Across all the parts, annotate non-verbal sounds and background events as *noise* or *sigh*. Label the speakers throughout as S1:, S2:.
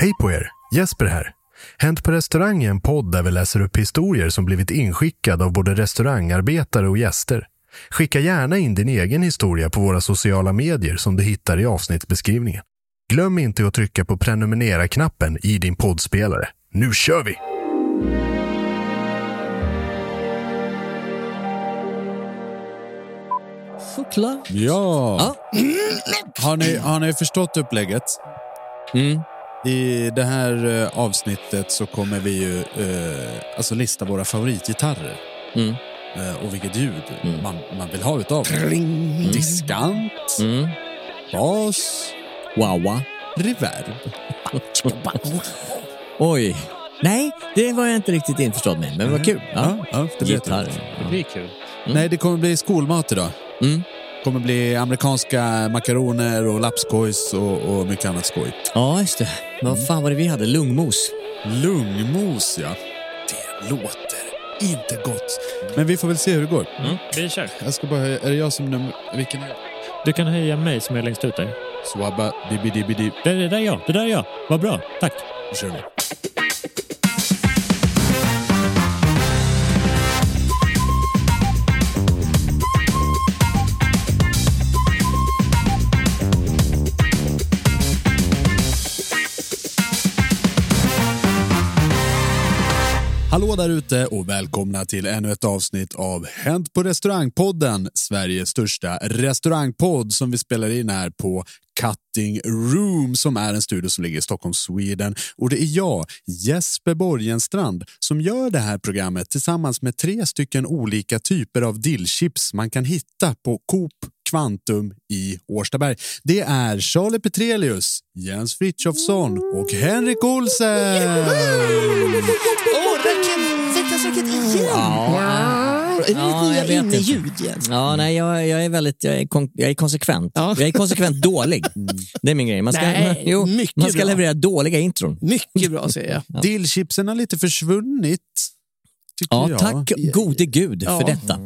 S1: Hej på er! Jesper här. Hänt på restaurang är en podd där vi läser upp historier som blivit inskickade av både restaurangarbetare och gäster. Skicka gärna in din egen historia på våra sociala medier som du hittar i avsnittsbeskrivningen. Glöm inte att trycka på prenumerera-knappen i din poddspelare. Nu kör vi!
S2: Såklart.
S3: Ja!
S2: Ja.
S3: Har ni, har ni förstått upplägget?
S2: Mm.
S3: I det här eh, avsnittet så kommer vi ju eh, alltså lista våra favoritgitarrer.
S2: Mm.
S3: Eh, och vilket ljud man, man vill ha utav dem. Diskant,
S2: Mm.
S3: bas,
S2: Wawa.
S3: reverb.
S2: *laughs* Oj. Nej, det var jag inte riktigt införstådd med, men vad kul. Ja.
S3: ja, det blir
S2: Gitarr.
S3: jätteroligt.
S4: Det blir kul.
S3: Nej, det kommer bli skolmat idag.
S2: Mm.
S3: kommer bli amerikanska makaroner och lapskojs och, och mycket annat skoj. Mm.
S2: Ja, just det. Vad fan var det vi hade? Lungmos.
S3: Lungmos, ja. Det låter inte gott. Men vi får väl se hur det går.
S4: Mm, Vi kör.
S3: Jag ska bara höja. Är det jag som nummer... Vilken är jag?
S4: Du kan höja mig som är längst ut där.
S3: Swabba dibbi dibbi dib.
S4: Det, det där är jag. Det där är jag. Vad bra. Tack.
S3: Nu kör vi. Hallå där ute och välkomna till ännu ett avsnitt av Hänt på restaurangpodden, Sveriges största restaurangpodd som vi spelar in här på Cutting Room som är en studio som ligger i Stockholm, Sweden. Och det är jag, Jesper Borgenstrand, som gör det här programmet tillsammans med tre stycken olika typer av dillchips man kan hitta på Coop Kvantum i Årstaberg. Det är Charlie Petrelius, Jens Frithiofsson och Henrik Olsen!
S5: Åh, raket! Veckans raket igen! Är
S2: Ja,
S5: det
S2: jag
S5: ditt
S2: vet
S5: nya
S2: inte.
S5: inneljud igen?
S2: Ja, nej, jag, jag är väldigt jag är, kon, jag är konsekvent.
S5: Ja.
S2: Jag är
S5: *laughs*
S2: konsekvent dålig. Det är min grej. Man ska,
S5: Nej,
S2: man, jo,
S5: mycket
S2: man ska
S5: bra.
S2: leverera dåliga intron.
S5: Mycket bra säger jag.
S3: Dillchipsen har lite försvunnit. Tycker
S2: Ja,
S3: jag.
S2: tack gode gud för
S5: Ja. Mm.
S2: detta.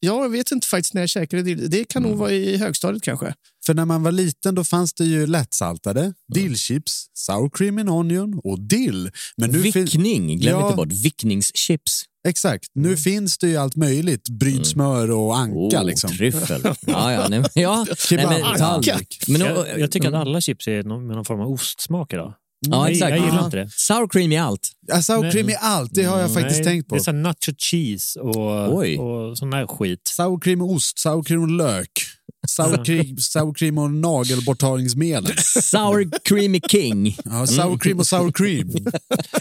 S5: Jag vet inte faktiskt när jag käkade dill. Det kan nog vara i högstadiet kanske.
S3: Mm. För när man var liten då fanns det ju lättsaltade, dillchips, sour cream and onion och dill. Men nu fin-
S2: Vickning, glöm
S3: Ja.
S2: inte bort. Vickningschips.
S3: Exakt.
S5: Mm.
S3: Nu finns det ju allt möjligt. Bryt smör och anka.
S2: Oh,
S3: liksom. *laughs*
S2: Tryffel. Ja, ja, nej, men- ja. Nej, men,
S3: Kebab.
S2: tallrik. Men,
S4: jag, jag tycker att alla chips är någon, med någon form av ostsmak idag.
S2: Ja,
S4: Nej,
S2: exakt.
S4: Jag gillar
S2: Ja.
S4: inte det.
S2: Sour cream i allt. Mm.
S3: Ja, sour
S4: Nej.
S3: cream i allt, det har jag faktiskt
S4: Nej,
S3: tänkt på.
S4: Det är sån här nacho cheese och,
S2: Oj.
S4: och sån här skit.
S3: Sour cream och ost, sour cream och lök. Sour cream, sour cream och nagelborttagningsmedel.
S6: Sour creamy king.
S3: Ja, sour cream och sour cream.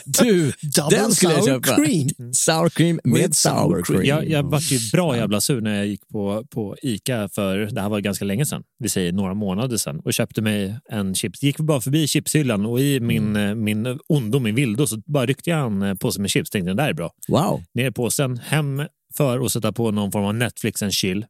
S6: Du,
S5: Mm. *laughs* Double
S6: den skulle jag
S5: sour
S6: köpa.
S5: cream.
S6: Sour cream med
S5: With sour
S6: sour cream.
S4: Jag, jag vart ju bra jävla sur när jag gick på, på Ica för det här var ganska länge sedan. Vi säger några månader sedan och köpte mig en chips. Gick bara förbi chipshyllan och i min,
S6: Mm.
S4: eh, min ondo, min vildo, så bara ryckte jag en eh, påse med chips. Tänkte den där är bra.
S6: Wow.
S4: Ner i påsen, hem för och sätta på någon form av Netflix and chill.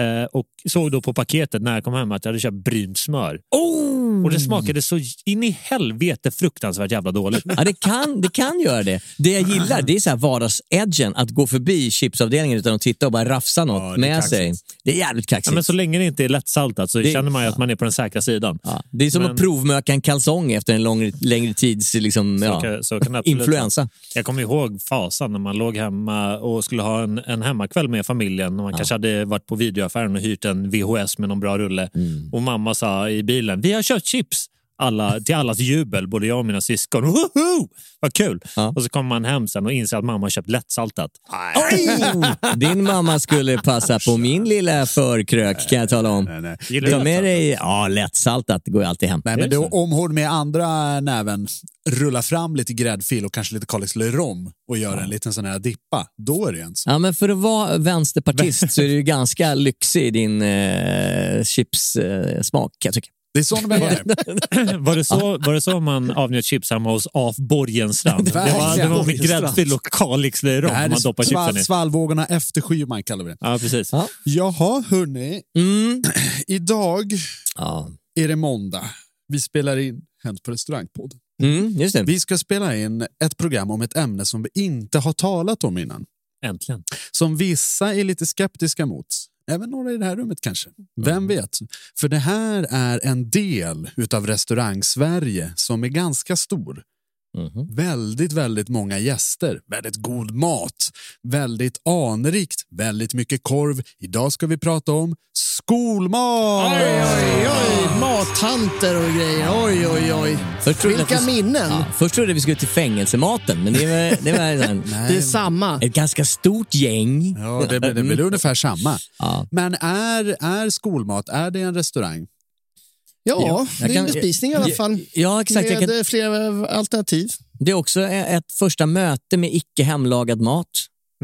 S4: Eh, och såg då på paketet när jag kom hem att jag hade köpt brynt smör.
S6: Oh!
S4: Och det smakade så in i helvete fruktansvärt jävla dåligt.
S6: Ja, det kan, det kan göra det. Det
S4: *laughs*
S6: jag gillar det är så här vardags-edgen, att gå förbi chipsavdelningen utan att titta och bara rafsa något
S3: Ja, det är
S6: med
S3: kaxigt.
S6: sig. Det är jävligt
S4: Ja,
S6: kaxigt.
S4: men så länge det inte är lättsaltat så
S6: Det-
S4: känner man ju att man är på den säkra sidan.
S6: ja, det är som
S4: Men-
S6: att provmöka en kalsong efter en lång, längre tids liksom,
S4: Så
S6: ja,
S4: kan- så kan det absolut
S6: influensa.
S4: Jag kommer ihåg fasan när man låg hemma och skulle ha en, en hemmakväll med familjen. Man kanske hade varit på videoaffären och hyrt en VHS med någon bra rulle.
S6: Mm.
S4: Och mamma sa i bilen, vi har köpt chips! Alla, till allas jubel, både jag och mina syskon. Woho! Vad kul!
S6: Ja.
S4: Och så kommer man hem sen och inser att mamma har köpt lättsaltat.
S6: Oh! Din mamma skulle passa på min lilla förkrök kan jag tala om.
S3: Nej, nej.
S4: Gillar du
S6: Ta med
S4: lättsaltat?
S6: dig ja, lättsaltat, det går ju alltid hem.
S3: Nej, men
S4: det
S3: det
S4: så?
S3: är omhård med andra näven, rulla fram lite gräddfil och kanske lite Kalix löjrom och göra en liten sån här dippa. Då är det ens.
S6: Ja, men för att vara vänsterpartist så är du ju ganska lyxig i din eh, chipssmak, eh, smak, kan jag tycka.
S3: Det är sån
S6: *laughs*
S3: man är.
S4: *laughs* Var det, så, var det så man avnjöt chips hemma hos Af Borgenstrand? *laughs* Det var, det var med
S3: Borgenstrand.
S4: gräddfil och Kalixlöjrom
S3: Det här
S4: man doppar
S3: är
S4: chipsen
S3: sval,
S4: i.
S3: svalvågorna efter Schyman kallar vi det.
S4: Ja, precis.
S6: Ja.
S3: Jaha, hörni.
S6: Mm.
S3: *clears throat* Idag
S6: Ja.
S3: är det måndag. Vi spelar in Hänt på restaurangpodd.
S6: Mm, just det.
S3: Vi ska spela in ett program om ett ämne som vi inte har talat om innan.
S4: Äntligen.
S3: som vissa är lite skeptiska mot. Även några i det här rummet kanske. Vem vet? För det här är en del utav restaurang-Sverige som är ganska stor.
S6: Mhm.
S3: Väldigt, väldigt många gäster, väldigt god mat, väldigt anrikt, väldigt mycket korv. Idag ska vi prata om skolmat!
S5: Oj, oj, oj. Mattanter och grejer. Oj, oj, oj.
S6: Först trodde jag
S5: Vilka
S6: att vi-
S5: minnen.
S6: Ja, först trodde jag vi skulle till fängelsematen, men det var, det var
S5: *laughs*
S6: en,
S5: Det är samma.
S6: ett ganska stort gäng. Mm.
S3: Ja, det, blir- det blir ungefär samma.
S6: Ja.
S3: Men är, är skolmat, är det en restaurang?
S5: Ja,
S6: jag
S5: det är en
S6: kan-
S5: bespisning i alla fall.
S6: Ja, exakt. Jag
S5: Med
S6: kan,
S5: eh, flera alternativ.
S6: det är också e- ett första möte med icke hemlagad mat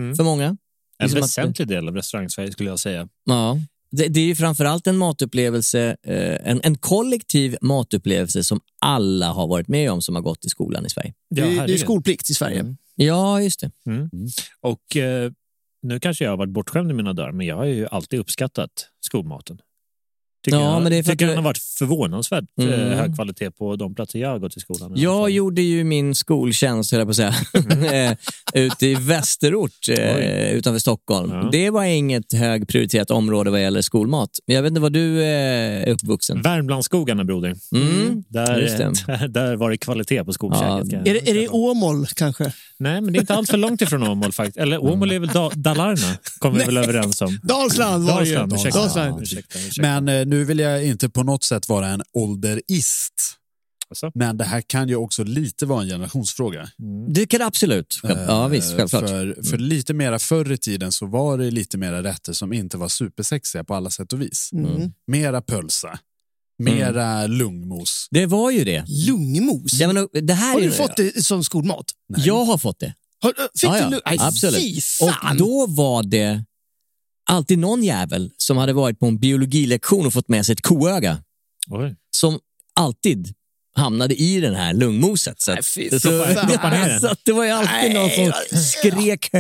S4: Mm.
S6: för många. Det är
S4: En
S6: som att-
S4: väsentlig del av restaurang-Sverige skulle jag säga.
S6: Ja. Det, det är ju framförallt en matupplevelse, eh, en, en kollektiv matupplevelse som alla har varit med om som har gått i skolan i Sverige. Mm.
S5: Det är- det är
S4: herregud. Mm.
S5: skolplikt i Sverige.
S6: Ja, just det. Mm.
S4: Och eh, nu kanske jag har varit bortskämd i mina dagar, men jag har ju alltid uppskattat skolmaten. Tycker,
S6: Ja,
S4: jag,
S6: men det är för att
S4: tycker
S6: du-
S4: den har varit förvånansvärt eh,
S6: Mm.
S4: hög kvalitet på de platser jag har gått i skolan.
S6: Jag gjorde ju min skoltjänst, höll jag på att säga,
S4: Mm.
S6: *laughs* eh, ute i Västerort eh, utanför Stockholm.
S4: Ja.
S6: Det var inget högprioriterat område vad gäller skolmat. Men jag vet inte var du eh, är uppvuxen.
S4: Värmlandsskogarna, broder.
S6: Mm. Just det.
S4: Där, där, *laughs* där var det kvalitet på skolkäket.
S6: Ja.
S4: kan jag
S5: Är det, är det i
S4: säga.
S5: Åmål kanske?
S4: Nej, men det är inte allt för långt ifrån Åmål faktiskt. Eller Åmål
S6: Mm.
S4: är väl da Dalarna, kommer vi väl överens om.
S5: Dalsland var det ju.
S4: Dalsland, ursäkta.
S5: Dalsland.
S4: Ja, ursäkta, ursäkta.
S3: Men eh, nu vill jag inte på något sätt vara en ålderist.
S4: Alltså?
S3: Men det här kan ju också lite vara en generationsfråga.
S6: Det Mm. kan det absolut. Ja, ja,
S3: Eh,
S6: visst, självklart. Mm.
S3: För, för lite mera förr i tiden så var det lite mera rätter som inte var supersexiga på alla sätt och vis.
S5: Mm.
S3: Mera pölsa, mera lungmos.
S6: Mm. Det var ju det.
S5: Lungmos.
S6: Jag menar, det här
S5: Har
S6: är,
S5: du fått det som skolmat?
S6: Jag har fått det.
S5: Har, fick
S6: Ja, ja,
S5: du lung? Nej,
S6: absolut.
S5: Fy
S6: Och
S5: fan!
S6: då var det alltid någon jävel som hade varit på en biologilektion och fått med sig ett koöga
S4: Oj.
S6: som alltid hamnade i den här lungmoset. Så, att-
S5: Nej, fy
S6: så,
S5: fan.
S4: Stoppa ner den.
S6: så att det var ju alltid någon som skrek.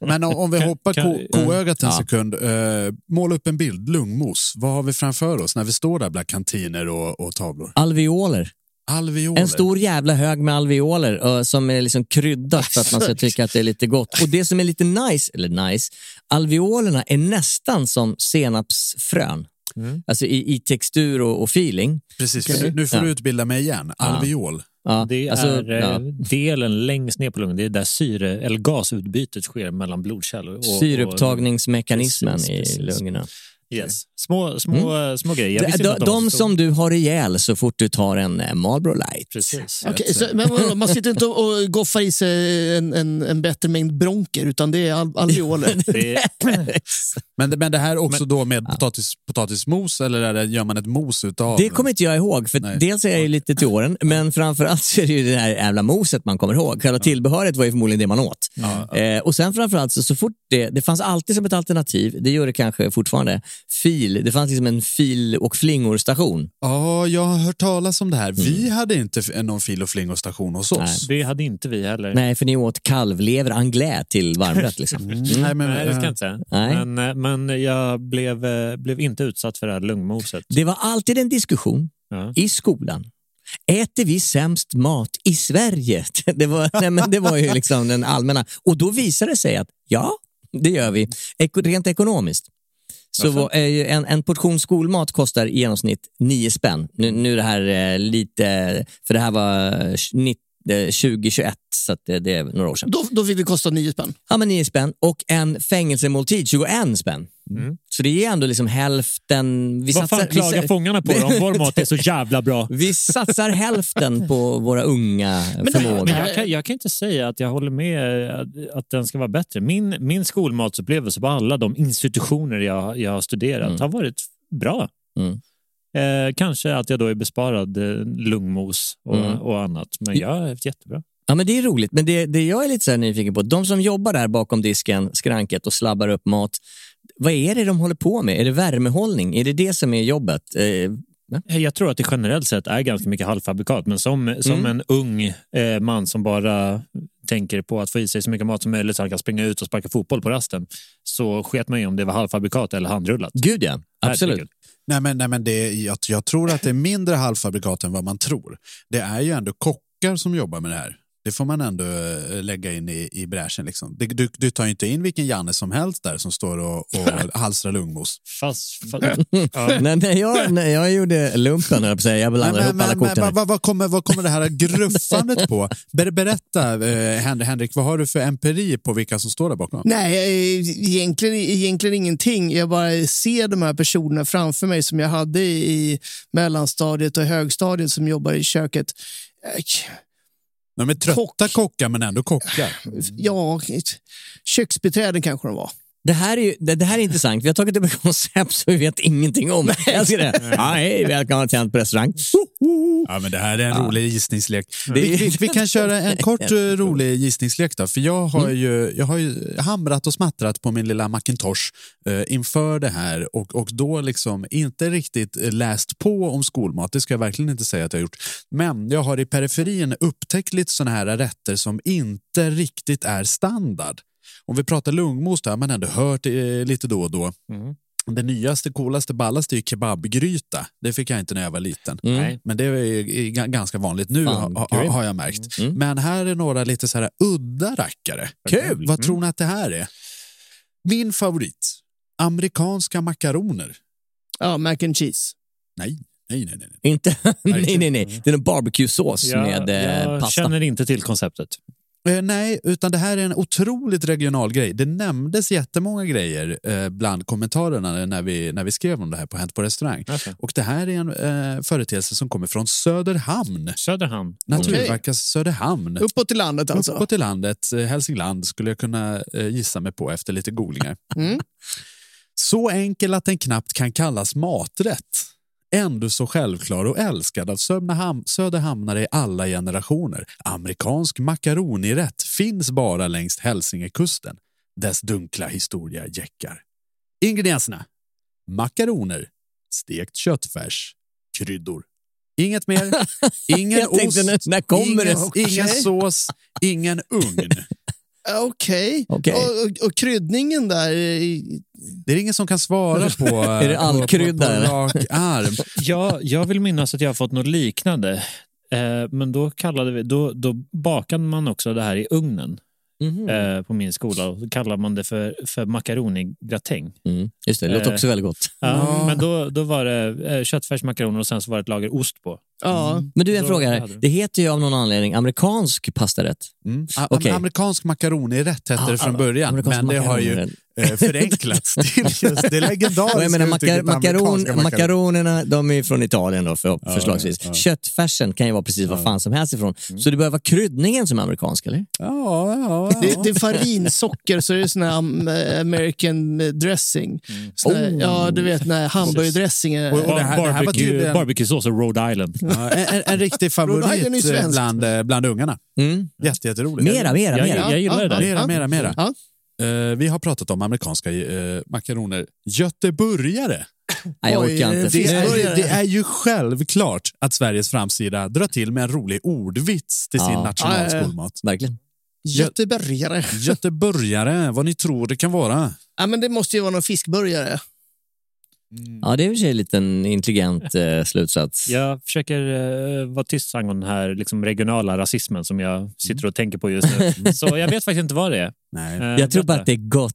S3: Men om, om vi hoppar
S4: kan-
S3: ko- koögat en
S6: Ja.
S3: sekund. Eh, måla upp en bild, lungmos. Vad har vi framför oss när vi står där bland kantiner och, och tavlor?
S6: Alveoler.
S3: Alveoler.
S6: En stor jävla hög med alveoler ö, som är liksom kryddat för att man ska tycka att det är lite gott. Och det som är lite nice, eller nice, alveolerna är nästan som senapsfrön.
S4: Mm.
S6: Alltså i, i textur och, och feeling.
S3: Precis, nu, nu får
S6: Ja.
S3: du utbilda mig igen. Alveol.
S6: Ja,
S4: Det är
S6: alltså,
S4: eh,
S6: ja.
S4: delen längst ner på lungan. Det är där syre, eller gasutbytet sker mellan blodkärl. och- och-
S6: Syreupptagningsmekanismen
S4: Precis, precis.
S6: i lungorna. Mm.
S4: Yes. Små, små, eh, små grejer. Jag
S6: De,
S4: visste inte
S6: de,
S4: att var
S6: de
S4: så-
S6: som du har ihjäl så fort du tar en eh, Marlboro Light.
S4: Precis. eh,
S5: Okej, så, men vadå, man sitter inte och och goffar i
S6: *laughs*
S5: sig en, en, en bättre mängd bronker, utan *laughs* det är al alveoler.
S4: Det är,
S3: Men, det- men det här också då med potatis, potatismos eller är det, gör man ett mos utav?
S6: Det kommer inte jag ihåg, för dels är jag ju lite till åren, men framförallt så är det ju det här jävla moset man kommer ihåg. Själva tillbehöret var ju förmodligen det man åt. Eh, och sen framförallt, så, så fort det, det fanns alltid som ett alternativ, det gör det kanske fortfarande, fil. Det fanns liksom en fil och flingor-station.
S3: Ja, jag har hört talas om det här. Vi
S5: Mm.
S3: hade inte f- någon fil och flingostation hos oss.
S4: Det hade inte vi heller.
S6: Nej, för ni åt kalvlever anglais till varmrätt. Liksom. Mm.
S3: Nej, men-
S4: Nej, det ska jag inte säga.
S6: Nej.
S4: Men, eh, men jag blev, eh, blev inte utsatt för det här lungmoset.
S6: Det var alltid en diskussion
S4: Ja.
S6: i skolan. Äter vi sämst mat i Sverige? *laughs* Det var, nej, men det var ju liksom den allmänna. Och då visade det sig att ja, det gör vi. Eko, rent ekonomiskt. Så
S4: Varför?
S6: var, är ju en, en portion skolmat kostar i genomsnitt 9 spänn. Nu, nu är det här eh, lite, för det här var eh, 90, eh, 2021, så att det, det är några år sedan.
S5: Då, då fick det kosta nio spänn.
S6: Ja, men 9 spänn och en fängelsemåltid, 21 spänn. Så det är ändå liksom hälften. Vi
S4: Mm. Vad fan
S6: satsar- vi sa-
S4: klagar fångarna på då, om vår mat är så jävla bra?
S6: *laughs* vi satsar hälften på våra unga förmågor.
S4: Men jag, kan, jag kan inte säga att jag håller med eh, att- att den ska vara bättre. Min, min skolmatsupplevelse på alla de institutioner jag, jag har studerat har varit bra.
S6: Mm.
S4: Eh, kanske att jag då är besparad eh, lungmos och, och annat, men jag har haft jättebra.
S6: Mm. Ja, men det är roligt, men det, det jag är lite så här nyfiken på, de som jobbar där bakom disken, skranket och slabbar upp mat, vad är det de håller på med? Är det värmehållning? Är det det som är jobbet? Eh,
S4: Eh, Jag tror att det generellt sett är ganska mycket halvfabrikat, men som, som
S6: Mm.
S4: en ung eh, man som bara tänker på att få i sig så mycket mat som möjligt så han kan springa ut och sparka fotboll på rasten, så sket man ju om det var halvfabrikat eller handrullat.
S6: gud ja, absolut.
S4: Herregud.
S3: Nej, men, nej, men det, jag, jag tror att det är mindre halvfabrikat än vad man tror. Det är ju ändå kockar som jobbar med det här. Det får man ändå eh, lägga in i, i bräschen. Liksom. Det, du, du tar ju inte in vilken Janne som helst där som står
S6: *laughs*
S3: och, och halsrar lungmos.
S4: Fast, fast,
S6: när, när, jag, när jag gjorde lumpen, höll jag på att säga, jag
S3: Men,
S6: blandade
S3: men,
S6: ihop alla
S3: men, men,
S6: korten.
S3: vad, vad- vad, kommer, vad kommer det här gruffandet på? Ber, berätta, eh, Hen- Henrik, vad har du för empiri på vilka som står där bakom?
S5: Nej, eh, egentligen, egentligen ingenting. Jag bara ser de här personerna framför mig som jag hade i, i mellanstadiet och högstadiet som jobbar i köket. Eh,
S3: De är trötta kockar, men ändå kockar.
S5: Ja, köksbiträden kanske de var.
S6: Det här, är ju, det, det här är intressant. Vi har tagit upp ett koncept som vi vet
S5: *laughs*
S6: ingenting om. Jag älskar det. Ja, hej, välkomna till Hänt på restaurang.
S3: Ja, men det här är en rolig gissningslek.
S6: Det är-
S3: Vi, vi, vi kan köra en *laughs* kort eh, rolig gissningslek då, för jag har, ju, jag har ju hamrat och smattrat på min lilla Macintosh eh, inför det här och, och då liksom inte riktigt eh, läst på om skolmat, det ska jag verkligen inte säga att jag har gjort. Men jag har i periferin upptäckt lite sådana här rätter som inte riktigt är standard. Om vi pratar lungmos, det har man ändå hört eh, lite då och då.
S6: Mm.
S3: Det nyaste, coolaste, ballaste är ju kebabgryta. Det fick jag inte när jag var liten.
S4: Nej.
S3: Men det är ju g- g- ganska vanligt nu
S6: Mm. Fan,
S3: ha,
S6: grymt. Mm.
S3: ha, har jag märkt. Men här är några lite så här udda rackare.
S6: Kul!
S3: Vad tror ni att det här är? Min favorit. Amerikanska makaroner.
S5: Ja, mac and cheese.
S3: Nej, nej, nej. nej. nej.
S6: Inte, *laughs* nej, nej, nej. Det är en barbecue-sås
S4: Jag-
S6: med eh,
S4: jag
S6: pasta.
S4: känner inte till konceptet.
S3: Eh, nej, utan det här är en otroligt regional grej. Det nämndes jättemånga grejer eh, bland kommentarerna när vi, när vi skrev om det här på Hänt på restaurang. Och det här är en eh, företeelse som kommer från Söderhamn.
S4: Söderhamn.
S3: Naturverket Söderhamn.
S5: Uppåt i landet alltså.
S3: Uppåt i landet, eh, Hälsingland, skulle jag kunna eh, gissa mig på efter lite googlingar.
S5: Mm.
S3: Så enkel att den knappt kan kallas maträtt. Ändå så självklar och älskad av Söderham- söderhamnare i alla generationer. Amerikansk makaronirätt finns bara längs Hälsingekusten. Dess dunkla historia jäckar. Ingredienserna. Makaroner, stekt köttfärs, kryddor.
S6: *laughs*
S3: Inget mer, ingen
S6: Jag tänkte,
S3: ost,
S6: när- när kommer
S3: ingen,
S6: det?
S3: ingen sås, ingen ugn.
S5: Okej.
S6: Okej.
S5: Och, och, och kryddningen där. eh,
S3: Det är ingen som
S6: *laughs*
S3: kan svara på... eh,
S6: Är det all
S3: på- på-
S6: krydda,
S3: På,
S6: eller?
S3: rak arm.
S4: Jag, jag vill minnas att jag har fått något liknande. Eh, men då, kallade vi, då, då bakade man också det här i ugnen
S6: Mhm.
S4: eh, på min skola. Och Då kallade man det för, för makaronigratäng.
S6: Mm, just det, det låter
S4: Eh,
S6: också väldigt gott.
S4: Ja, Men då, då var det eh, köttfärsmakaroner och sen så var det ett lager ost på.
S5: Ja.
S3: Mm.
S6: Men du, en
S4: då
S6: fråga här.
S4: hade du.
S6: Det heter ju av någon anledning amerikansk pastarätt.
S3: Mm. A-
S6: Okej. Ah,
S3: Amerikansk makaronirätt hette det från början,
S6: Amerikansk
S3: men det har ju
S6: makaroner. *laughs*
S3: eh, förenklats till just det legendariska
S6: Och jag menar, makar
S3: uttrycket
S6: makaron,
S3: amerikanska makaron.
S6: makaronerna, de är från Italien då, för,
S3: Ja,
S6: förslagsvis.
S3: ja, ja.
S6: Köttfärsen kan ju vara precis vad fan som helst ifrån.
S4: Mm.
S6: Så det bör vara kryddningen som är amerikansk, eller?
S3: Ja, ja, ja.
S5: Det, det är farinsocker, så är det sån här am- American dressing. Sån här,
S4: Oh.
S5: Ja, du vet, när hamburgardressingen...
S4: Bar- barbecue, Barbecuesås och Rhode Island.
S3: Ja, en, en,
S6: *laughs*
S3: en riktig
S5: Rhode Island är ju
S3: favorit eh,
S5: svenskt.
S3: bland, eh, bland ungarna.
S6: Mm.
S3: Jätte, jätteroligt.
S6: Mera, mera,
S4: Jag- mera. jag gillar det där.
S3: Mera,
S4: Ja.
S3: mera, mera.
S5: Ja.
S3: Eh, vi har pratat om amerikanska eh, makaroner. Göteborgare.
S6: Nej, jag orkar inte.
S3: Det är,
S6: Fiskburgare.
S3: det är ju självklart att Sveriges framsida drar till med en rolig ordvits till sin
S6: Ja.
S3: nationalskolmat.
S6: Verkligen.
S5: Göteborgare.
S3: Göteborgare, vad ni tror det kan vara.
S5: Ja, men det måste ju vara någon fiskburgare.
S6: Mm. Ja, det är i och för sig en liten intelligent eh, slutsats.
S4: Jag försöker eh, vara tyst angående den här liksom, regionala rasismen som jag Eh, sitter och tänker på just
S3: *laughs*
S4: nu. Så jag vet faktiskt inte vad det är.
S3: Nej.
S4: Eh,
S6: Jag tror bara
S4: berätta.
S6: att det är gott.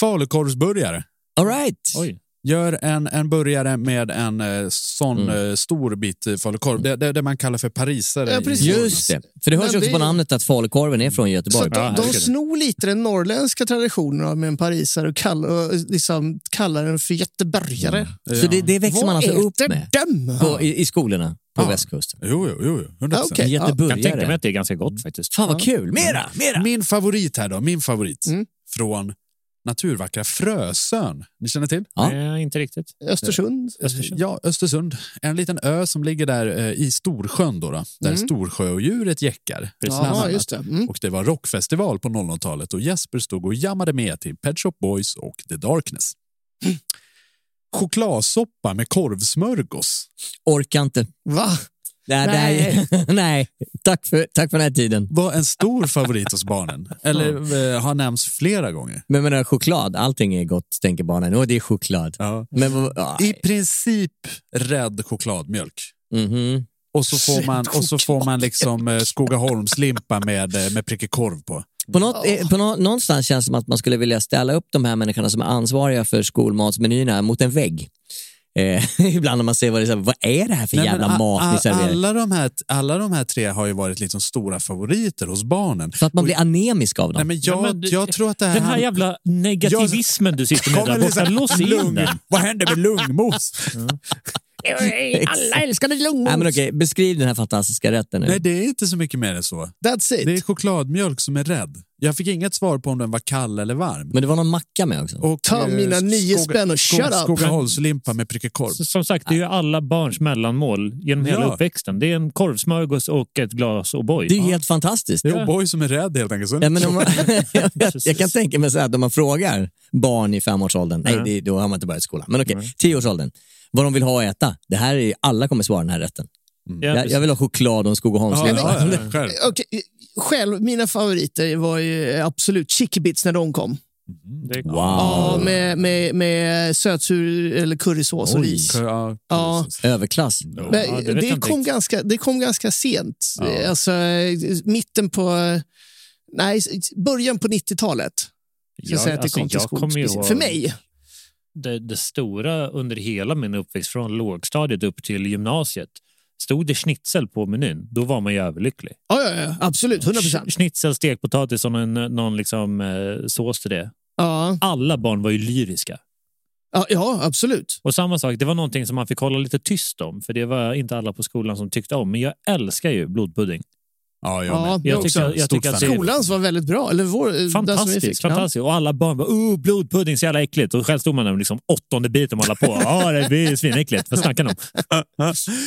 S3: Falukorvsburgare.
S6: All right.
S4: Oj.
S3: Gör en, en burgare med en eh, sån
S6: Mm.
S3: eh, stor bit eh, falukorv. Det, det, det man kallar för parisare.
S5: Ja,
S3: i
S5: precis.
S3: Norrland.
S6: Just det. För det hörs
S5: Men
S6: ju också
S5: det-
S6: på namnet att falukorven är från
S5: Så
S6: Göteborg.
S5: att de, de
S4: herregud.
S5: snor lite den norrländska traditionen av med en parisare och, kall, och eh, liksom kallar den för göteborgare.
S6: Så det, det växer
S5: Vad
S6: man alltså upp
S5: äter
S6: med
S5: dem?
S6: på, i, i skolorna på
S3: Ja.
S6: västkusten.
S3: Jo, jo, jo. jo. 100%.
S5: Ja, Ah, okej. Ja.
S4: Jag kan tänka mig
S6: Göteborgare.
S4: att det är ganska gott faktiskt.
S6: Fan vad kul. Mm. Mera, mera.
S3: Mm. Min favorit här då, min favorit.
S5: Mm.
S3: Från naturvackra Frösön. Ni känner till?
S6: Ja.
S4: Nej, inte riktigt.
S5: Östersund.
S4: Östersund.
S3: Ja, Östersund. En liten ö som ligger där eh, i Storsjön, då, då, där
S5: Mm.
S3: Storsjöodjuret gäckar. bland
S5: Ja,
S3: annat.
S5: just det. Mm.
S3: Och det var rockfestival på 00-talet och Jesper stod och jammade med till Pet Shop Boys och The Darkness.
S5: Mm.
S3: Chokladsoppa med korvsmörgås.
S6: Orkar inte.
S5: Va?
S6: Nej, nej.
S5: Nej.
S6: *laughs* nej. Tack, för, tack för den här tiden.
S3: var en stor favorit hos barnen. Eller eh, har nämnts flera gånger.
S6: Men menar choklad, allting är gott, tänker barnen. Åh, det är choklad.
S3: Ja.
S6: Men vad- ja.
S3: I princip rädd chokladmjölk.
S6: Mhm.
S3: Och så får man, och så får man liksom eh, Skogaholmslimpa med, eh, med prickig korv på.
S6: På något, eh, på nå, någonstans känns det som att man skulle vilja ställa upp de här människorna som är ansvariga för skolmatsmenyerna mot en vägg. Eh, *laughs* ibland när man ser vad det är, så här, vad är det här för
S3: Nej,
S6: jävla
S3: men a-
S6: mat ni
S3: a-
S6: serverar?
S3: alla, de här, alla de här tre har ju varit liksom stora favoriter hos barnen.
S6: För att man blir anemisk av dem.
S3: Nej, men jag,
S4: Nej, men du-
S3: jag tror att det här...
S4: Den här jävla negativismen du sitter med där borta, lås in
S3: liksom lugn.
S4: den.
S3: Vad händer med lungmos?
S5: Mm.
S6: Alla
S5: älskade lungmos.
S6: Nej, men okej, beskriv den här fantastiska rätten nu.
S3: liksom- Nej, det är inte så mycket mer än så.
S5: That's it.
S3: Det är chokladmjölk som är rädd. Jag fick inget svar på om den var kall eller varm.
S6: Men det var någon macka med också.
S3: Och,
S5: Ta
S3: eh,
S5: mina nio
S3: Skoga-
S5: spänn och
S3: Skog-
S5: shut up.
S3: Skogaholmslimpa med prickig korv.
S4: Så- Som sagt, det är ju alla barns mellanmål genom hela
S3: Ja.
S4: uppväxten. Det är en korvsmörgås och ett glas O'boy.
S6: Det är ju helt fantastiskt.
S3: Det är O'boy som är rädd helt enkelt. Så
S6: Ja, men om man,
S4: *laughs*
S6: *laughs*
S3: *laughs*
S6: jag, jag, jag kan
S4: Precis.
S6: tänka mig så här, att om man frågar barn i femårsåldern, nej,
S4: Ja.
S6: det, då har man inte börjat skolan, men okej, tioårsåldern, vad de vill ha att äta. Det här är, ju- alla kommer svara den här rätten.
S3: Mm.
S4: Ja,
S6: jag, jag vill ha choklad och en
S3: ja,
S6: Skogaholmslimpa.
S3: ja, ja, själv.
S5: Okej, eh, Själv, mina favoriter var ju absolut Chicky Bits när de kom.
S4: Det är-
S6: Wow.
S5: Ja, med, med, med sötsur eller currysås och
S6: Oj.
S5: ris.
S3: Ja,
S5: Ja.
S3: precis.
S6: Överklass.
S4: Ja,
S5: Men
S4: det vet jag
S5: det,
S4: inte
S5: kom
S4: riktigt.
S5: ganska, det kom ganska sent.
S3: Ja.
S5: Alltså, eh, mitten på... Nej, s- början på 90-talet. Ska jag,
S4: Ja,
S5: säga att det
S4: alltså,
S5: kom till
S4: jag
S5: skog,
S4: kommer ju
S5: speciellt.
S4: ihåg-
S5: För mig.
S4: det, det stora under hela min uppväxt, från lågstadiet upp till gymnasiet, stod det schnitzel på menyn, då var man ju överlycklig.
S5: Ja, ja, ja, absolut. 100 procent.
S4: Sch- Schnitzel, stekpotatis och någon, någon liksom, eh, sås till det.
S5: Ja.
S4: Alla barn var ju lyriska.
S5: Ja, ja, absolut.
S4: Och samma sak, det var någonting som man fick hålla lite tyst om, för det var inte alla på skolan som tyckte om. Men jag älskar ju blodpudding.
S3: Ja, jag med.
S5: Ja,
S4: Jag
S5: jag
S4: tycker-
S5: också.
S4: jag tycker att det är-
S5: Skolans var väldigt bra. Eller vår, den som vi
S4: Fantastiskt,
S5: fick. Ja.
S4: fantastiskt. Och alla barn bara, oh, blodpudding, så jävla äckligt. Och själv stod man där med liksom åttonde biten och alla på. *laughs* Ja, det blir ju svinäckligt. Vad snackar ni om?
S6: Ja,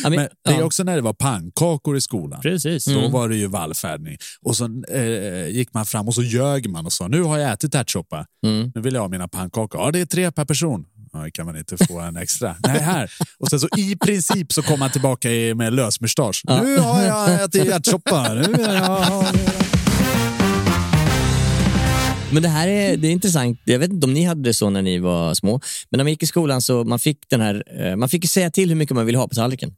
S6: men-
S3: Men det är
S6: ja.
S3: också när det var pannkakor i skolan.
S4: Precis.
S5: Mm.
S3: Då
S6: Mm.
S3: var det ju vallfärdning. Och så eh, gick man fram och så ljög man och sa nu har jag ätit ärtsoppa.
S6: Mm.
S3: Nu vill jag ha mina pannkakor. Ja, det är tre per person. Ja, det kan man inte få en extra? *laughs* Nej, här. Och sen så i princip så kom man tillbaka i- med lösmustasch. Nu har jag ätit ärtsoppa. Nu
S6: *laughs*
S3: är jag...
S6: Men det här är, det är intressant. Jag vet inte om ni hade det så när ni var små. Men när man gick i skolan så man fick den här, eh, man fick ju säga till hur mycket man ville ha på tallriken.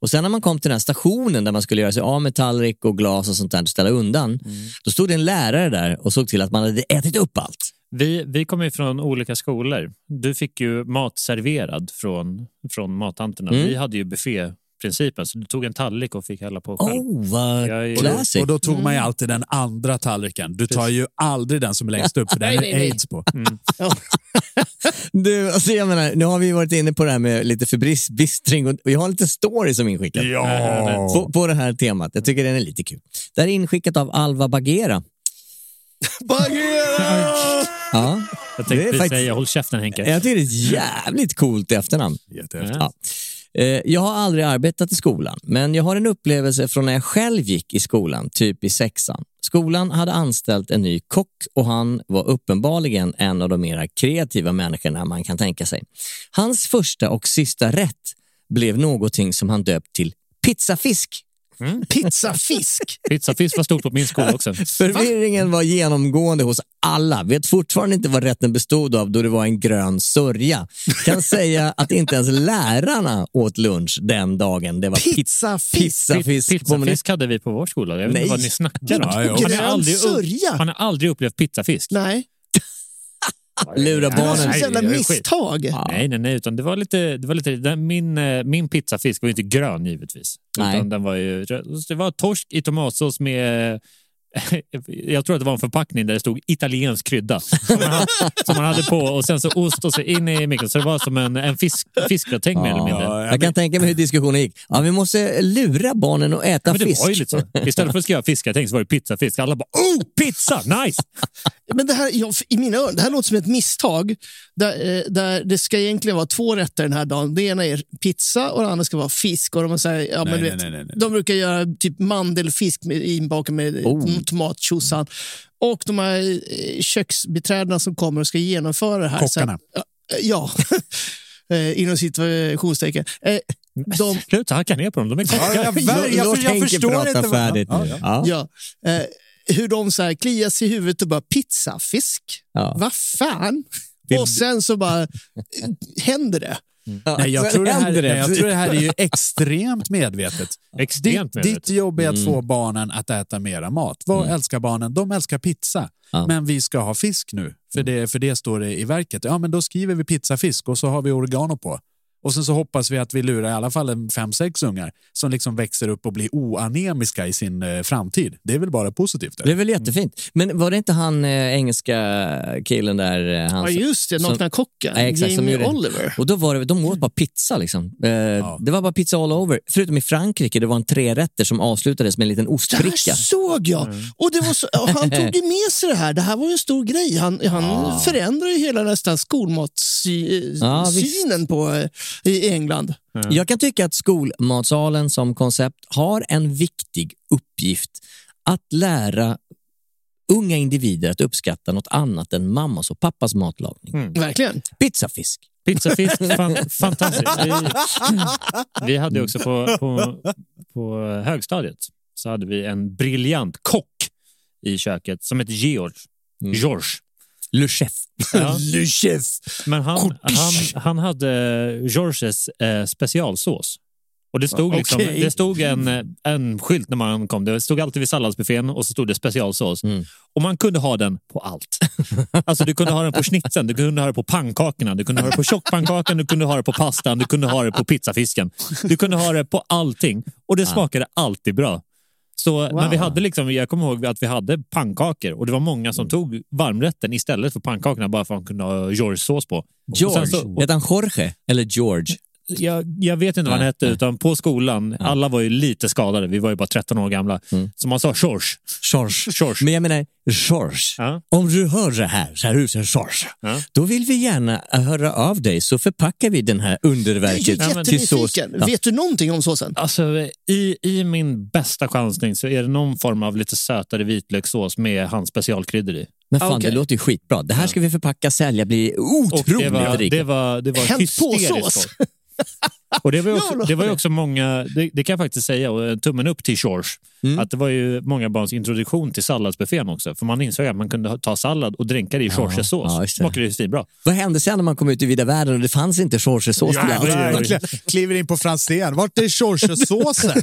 S6: Och sen när man kom till den här stationen där man skulle göra sig av med tallrik och glas och sånt där och ställa undan.
S4: Mm.
S6: Då stod det en lärare där och såg till att man hade ätit upp allt.
S4: Vi, vi kommer ju från olika skolor. Du fick ju mat serverad från, från mattanterna.
S6: Mm.
S4: Vi hade ju buffé principen. Så du tog en tallrik och fick hälla på själv.
S6: Oh, vad
S4: Jag är-
S3: Och då, och då tog man ju
S6: Mm.
S3: alltid den andra tallriken. Du tar ju aldrig den som är längst upp, för den
S6: Nej, nej,
S3: är
S6: nej. Mm.
S3: aids på.
S6: Du, alltså jag menar, nu har vi varit inne på det här med lite förbistring och jag har en liten story som är inskickad
S3: Ja. härligt.
S6: på, på det här temat. Jag tycker den är lite kul. Det här är inskickat av Alva Bagheera. *laughs*
S3: Bagheera!
S6: Ja.
S4: Jag
S6: Det är
S4: tänkte
S6: faktiskt-
S4: säga håll käften Henke.
S6: Jag tycker det är ett jävligt coolt efternamn.
S3: Jättehäftigt.
S6: Ja. Eh, Jag har aldrig arbetat i skolan, men jag har en upplevelse från när jag själv gick i skolan, typ i sexan. Skolan hade anställt en ny kock och han var uppenbarligen en av de mera kreativa människorna man kan tänka sig. Hans första och sista rätt blev någonting som han döpt till pizzafisk.
S5: Pizzafisk?
S4: Pizzafisk var stort på min skola
S6: *laughs*
S4: också.
S6: Förvirringen var genomgående hos alla. Vet fortfarande inte vad rätten bestod av då det var en grön sörja. Kan säga att inte ens lärarna åt lunch den dagen. Det var
S5: Pizzafisk.
S6: pizzafisk. på menyn.
S4: Pizzafisk hade vi på vår skola. Jag vet
S6: Nej.
S4: inte vad ni snackar om.
S3: Ja, ja.
S4: Han har
S5: Grön
S4: aldrig, upp-
S5: sörja.
S4: han har aldrig upplevt pizzafisk.
S5: Nej,
S6: *laughs* Lura
S5: det var
S6: barnen.
S5: sånt
S4: Nej,
S5: jävla
S4: det är skit.
S5: misstag.
S4: Nej, nej, nej. Utan det var lite, det var lite, den, min, eh, min pizzafisk var ju inte grön givetvis.
S6: Nej.
S4: Utan den var ju, röd. Så det var torsk i tomatsås med *laughs* jag tror att det var en förpackning där det stod italiensk krydda som man, hade, som man hade på och sen så ost och så in i mikron. Så det var som en, en fisk, fiskgratäng mer eller mindre.
S6: Jag kan tänka mig hur diskussionen gick. Ja, vi måste lura barnen att äta
S4: Men det
S6: fisk.
S4: var ju lite
S6: *laughs*
S4: så. Istället för att skriva fiskgratäng så var det pizzafisk. Alla bara oh, pizza, nice!
S5: *laughs* Men det här, jag, i mina öron, det här låter som ett misstag. Där, eh, där det ska egentligen vara två rätter den här dagen. Det ena är pizza och det andra ska vara fisk. Och de, säger, ja, men
S3: Nej,
S5: du
S3: nej,
S5: vet,
S3: nej, nej, nej.
S5: de brukar göra typ mandelfisk med, inbakad med oh. tomattjosan. Och de här eh, köksbiträdena som kommer och ska genomföra det här.
S3: Kockarna.
S5: Så, eh, ja, eh, inom situationstecken. Eh, de,
S4: Sluta hacka ner på dem, de är
S3: Ja,
S4: konstiga.
S3: jag, jag, jag,
S6: Låt
S3: jag,
S6: Henke
S3: förstår
S6: prata
S3: inte. vad-
S6: färdigt
S3: Ja,
S6: nu.
S3: ja.
S6: Ja.
S5: ja, eh, hur de så här kliar sig i huvudet och bara pizzafisk.
S6: Ja.
S5: Vad fan?
S6: Vill
S5: Och
S6: du-
S5: sen så bara eh, händer det.
S6: Ja.
S3: Mm. Nej, jag,
S6: Sen
S3: tror det här,
S6: händer
S3: nej, jag tror det här är ju extremt medvetet.
S4: Extremt
S3: ditt,
S4: medvetet.
S3: ditt jobb är att få barnen att äta mera mat. Vad älskar barnen? De älskar pizza.
S6: Ja. Mm.
S3: Men vi ska ha fisk nu, för det, för det står det i verket. Ja, men då skriver vi pizzafisk och så har vi oregano på. Och sen så hoppas vi att vi lurar i alla fall en fem, sex ungar som liksom växer upp och blir oanemiska i sin eh, framtid. Det är väl bara positivt?
S6: Det
S3: Eller?
S6: är väl jättefint. Men var det inte han eh, engelska killen där? eh, Han,
S5: Ja,
S6: som-
S5: just det.
S6: som-
S5: Nakna kocken.
S6: Ja, exakt, som
S5: Jamie
S6: gjorde det.
S5: Oliver.
S6: Och då var det, de åt bara pizza. Liksom. Eh, Det var bara pizza all over. Förutom i Frankrike, det var en trerätter som avslutades med en liten
S5: Det
S6: ostbricka.
S5: här såg jag!
S6: Mm.
S5: Och det var så, och han tog ju med sig det här. Det här var ju en stor grej. Han, han förändrade ju hela nästan skolmatssynen
S6: Ja, visst.
S5: på, eh, i England.
S4: Mm.
S6: Jag kan tycka att skolmatsalen som koncept har en viktig uppgift att lära unga individer att uppskatta något annat än mammas och pappas matlagning.
S4: Mm.
S5: Verkligen.
S6: Pizzafisk.
S4: Pizzafisk, fan, fantastiskt. Vi, vi hade ju också på, på, på högstadiet så hade vi en briljant kock i köket som hette George.
S6: Mm.
S4: George.
S6: Le chef. *laughs*
S4: Ja,
S3: Le chef.
S4: men han,
S3: Kopisch.
S4: han, han hade Georges eh, specialsås. Och det stod, liksom,
S5: Okej.
S4: det stod en, eh, en skylt när man kom. Det stod alltid vid salladsbuffén och så stod det specialsås.
S6: Mm.
S4: Och man kunde ha den på allt. Alltså du kunde ha den på schnitzeln, du kunde ha den på pannkakorna, du kunde ha den på tjockpannkakan, du kunde ha den på pastan, du kunde ha den på pizzafisken. Du kunde ha den på allting och det smakade alltid bra. Så när vi hade liksom, jag kommer ihåg att vi hade pannkakor och det var många som tog varmrätten istället för pannkakorna bara för att de kunde ha George-sås på. Och sen
S6: George.
S4: så-
S6: Hette han Jorge? Eller George?
S4: jag, jag vet inte vad han
S6: Nej,
S4: hette,
S6: nej.
S4: utan på skolan, alla var ju lite skadade, vi var ju bara 13 år gamla, så man sa George.
S6: George.
S4: George.
S6: Men jag menar, George.
S4: Ja.
S6: Om du hör det här, så här husen George,
S4: Ja.
S6: då vill vi gärna höra av dig så förpackar vi den här
S5: Jag
S6: underverket
S5: är
S6: till sås.
S5: jättenyfiken.
S6: Ja.
S5: Vet du någonting om såsen?
S4: Alltså, i, I min bästa chansning så är det någon form av lite sötare vitlökssås med hans specialkryddor i.
S6: Men fan,
S5: Okej.
S6: det låter ju skitbra. Det här ska vi förpacka, sälja, bli
S4: Och det
S6: otroligt
S4: var,
S6: rika.
S4: det var, det var
S5: Hänt
S4: hysteriskt
S5: påsås.
S4: gott. Och det var ju också,
S5: Jävlar.
S4: det var ju också många, det, det kan jag faktiskt säga, och eh, tummen upp till George, att det var ju många barns introduktion till salladsbuffén också. För man insåg att man kunde ha- ta sallad och dränka det i Georges sås.
S6: ja, just det.
S4: Smakade ju svinbra.
S6: Vad hände sen när man kom ut i vida världen och det fanns inte Georgesås till allt? *laughs*
S3: Verkligen. Kliver in på Franzén. Vart är
S4: *laughs*
S3: Georgesåsen?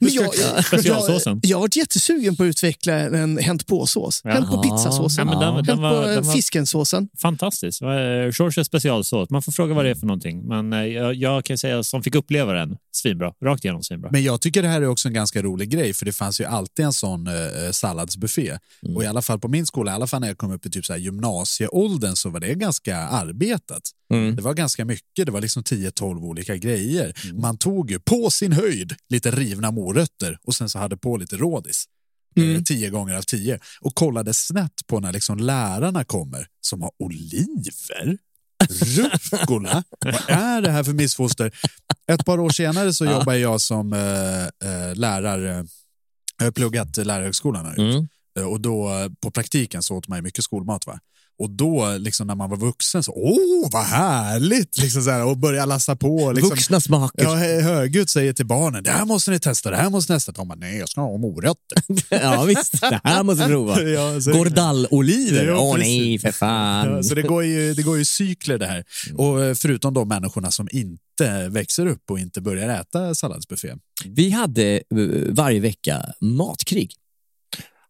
S5: Men jag, jag, jag,
S4: Specialsåsen.
S5: jag har varit jättesugen på att utveckla en hänt på-sås. Hänt på
S6: Ja.
S5: pizzasåsen.
S4: Ja, men den- den
S5: hänt
S4: var-
S5: på
S4: den var-
S5: fiskensåsen.
S4: Fantastiskt. Eh, Georges specialsås. Man får fråga vad det är för någonting. Men eh, jag, jag kan ju säga säga, som fick uppleva den. Svinbra. Rakt igenom svinbra.
S3: Men jag tycker det här är också en ganska rolig grej, för det fanns ju alltid en sån eh, salladsbuffé.
S6: Mm.
S3: Och i alla fall på min skola, i alla fall när jag kom upp i typ så här gymnasieåldern, så var det ganska arbetat.
S6: Mm.
S3: Det var ganska mycket, det var liksom 10-12 olika grejer. Man tog ju på sin höjd lite rivna morötter och sen så hade på lite rådis. Mm. Tio gånger av tio. Och kollade snett på när liksom lärarna kommer som har oliver. Rucola? Vad är det här för missfoster? Ett par år senare så jobbar jag som eh, eh, lärare. Jag har pluggat lärarhögskolan här.
S6: Mm.
S3: Eh, Och då eh, på praktiken så åt man ju mycket skolmat. va? Och då liksom när man var vuxen så, åh vad härligt! Liksom så här, och börja lassa på. Liksom,
S6: Vuxna smaker.
S3: Ja, hö- högljutt säger till barnen, det här måste ni testa, det här måste ni testa. De bara, nej jag ska ha morötter.
S4: *laughs*
S6: ja, visst. Det här måste vi prova.
S3: *laughs* Ja, så-
S6: Gordalloliver?
S3: Ja,
S6: Åh
S3: precis.
S6: nej, för
S3: Ja,
S6: fan. Mm.
S3: så det går, ju, det går ju cykler det här. Och eh, förutom de människorna som inte växer upp och inte börjar äta salladsbuffé.
S6: Vi hade eh, varje vecka
S3: *laughs*
S6: matkrig.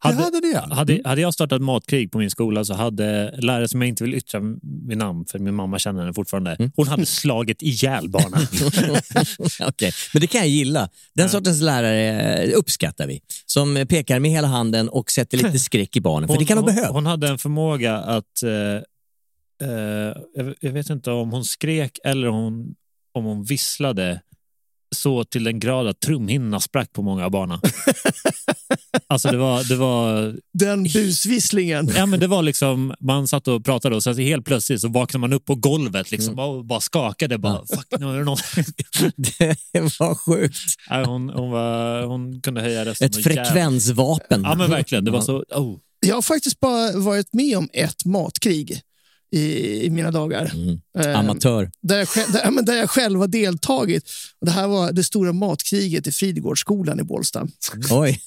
S3: det hade ni ja. Mm.
S4: Hade, hade jag startat matkrig på min skola så hade lärare som jag inte vill yttra min namn för min mamma känner henne fortfarande.
S3: Mm.
S4: Hon hade slagit ihjäl barnen.
S3: *laughs*
S6: Okej, Men det kan jag gilla. Den sortens lärare eh, uppskattar vi. Som pekar med hela handen och sätter lite
S3: *laughs*
S6: skräck i barnen. För det kan de
S4: hon,
S6: behöva.
S4: hon hade en förmåga att... Eh, eh, jag- jag vet inte om hon skrek eller hon, om hon visslade så till den grad att trumhinnorna sprack på många av
S6: *laughs*
S4: barnen. alltså det var, det var
S5: Den busvisslingen.
S4: Ja, men det var liksom, man satt och pratade och sen så helt plötsligt så vaknade man upp på golvet liksom,
S6: Mm.
S4: och bara skakade. Bara, Fuck, nu är det någon...
S6: *laughs* Det var sjukt.
S4: Nej, hon, hon, var, hon kunde höja rösten. och
S6: Ett
S4: jävla-
S6: frekvensvapen.
S4: Ja, men verkligen. Det var så... Oh.
S5: Jag har faktiskt bara varit med om ett matkrig i, i mina dagar. Eh,
S6: Amatör.
S5: där, jag själv, där, ja, men där jag själv har deltagit. Och Det här var det stora matkriget i Fridgårdsskolan i Bålsta. *laughs*
S6: Oj.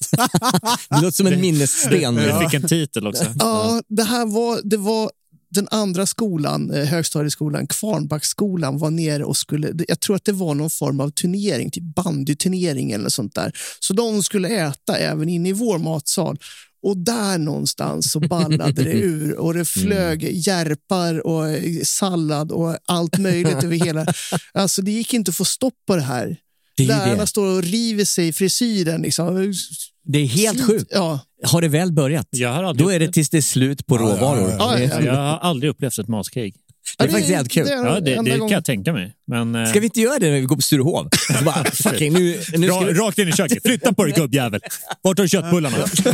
S6: Det låter som en minnessten.
S4: Vi fick en titel också.
S5: Ja, det här var, det var den andra skolan, eh, högstadieskolan, Kvarnbacksskolan, var nere och skulle, det- jag tror att det var någon form av turnering, typ bandyturnering eller sånt där. Så de skulle äta även inne i vår matsal. Och där någonstans så ballade det ur och det
S4: Mm.
S5: flög järpar och eh, sallad och allt
S7: *laughs*
S5: möjligt över hela. Alltså det gick inte att få stopp på det här.
S6: Det är ju
S5: Lärarna
S6: det.
S5: står och river sig i frisyren. Liksom.
S6: Det är helt sjukt.
S5: Ja.
S6: Har det väl börjat,
S4: Jag har aldrig,
S6: då är det tills det är slut på råvaror.
S5: Ja, ja, ja.
S4: jag har aldrig upplevt ett maskrig.
S6: Det är faktiskt jävligt kul.
S5: det är
S4: Ja, det,
S5: enda
S4: det kan
S5: gången.
S4: jag tänka mig. Men, eh,
S6: Ska vi inte göra det när vi går på Sturehof?
S4: *laughs*
S6: Så bara, fucking, nu, nu ska
S4: Ra,
S6: vi...
S4: rakt in i köket. Flytta på dig gubbjävel. Vart har du
S5: *laughs*
S4: köttbullarna? Ska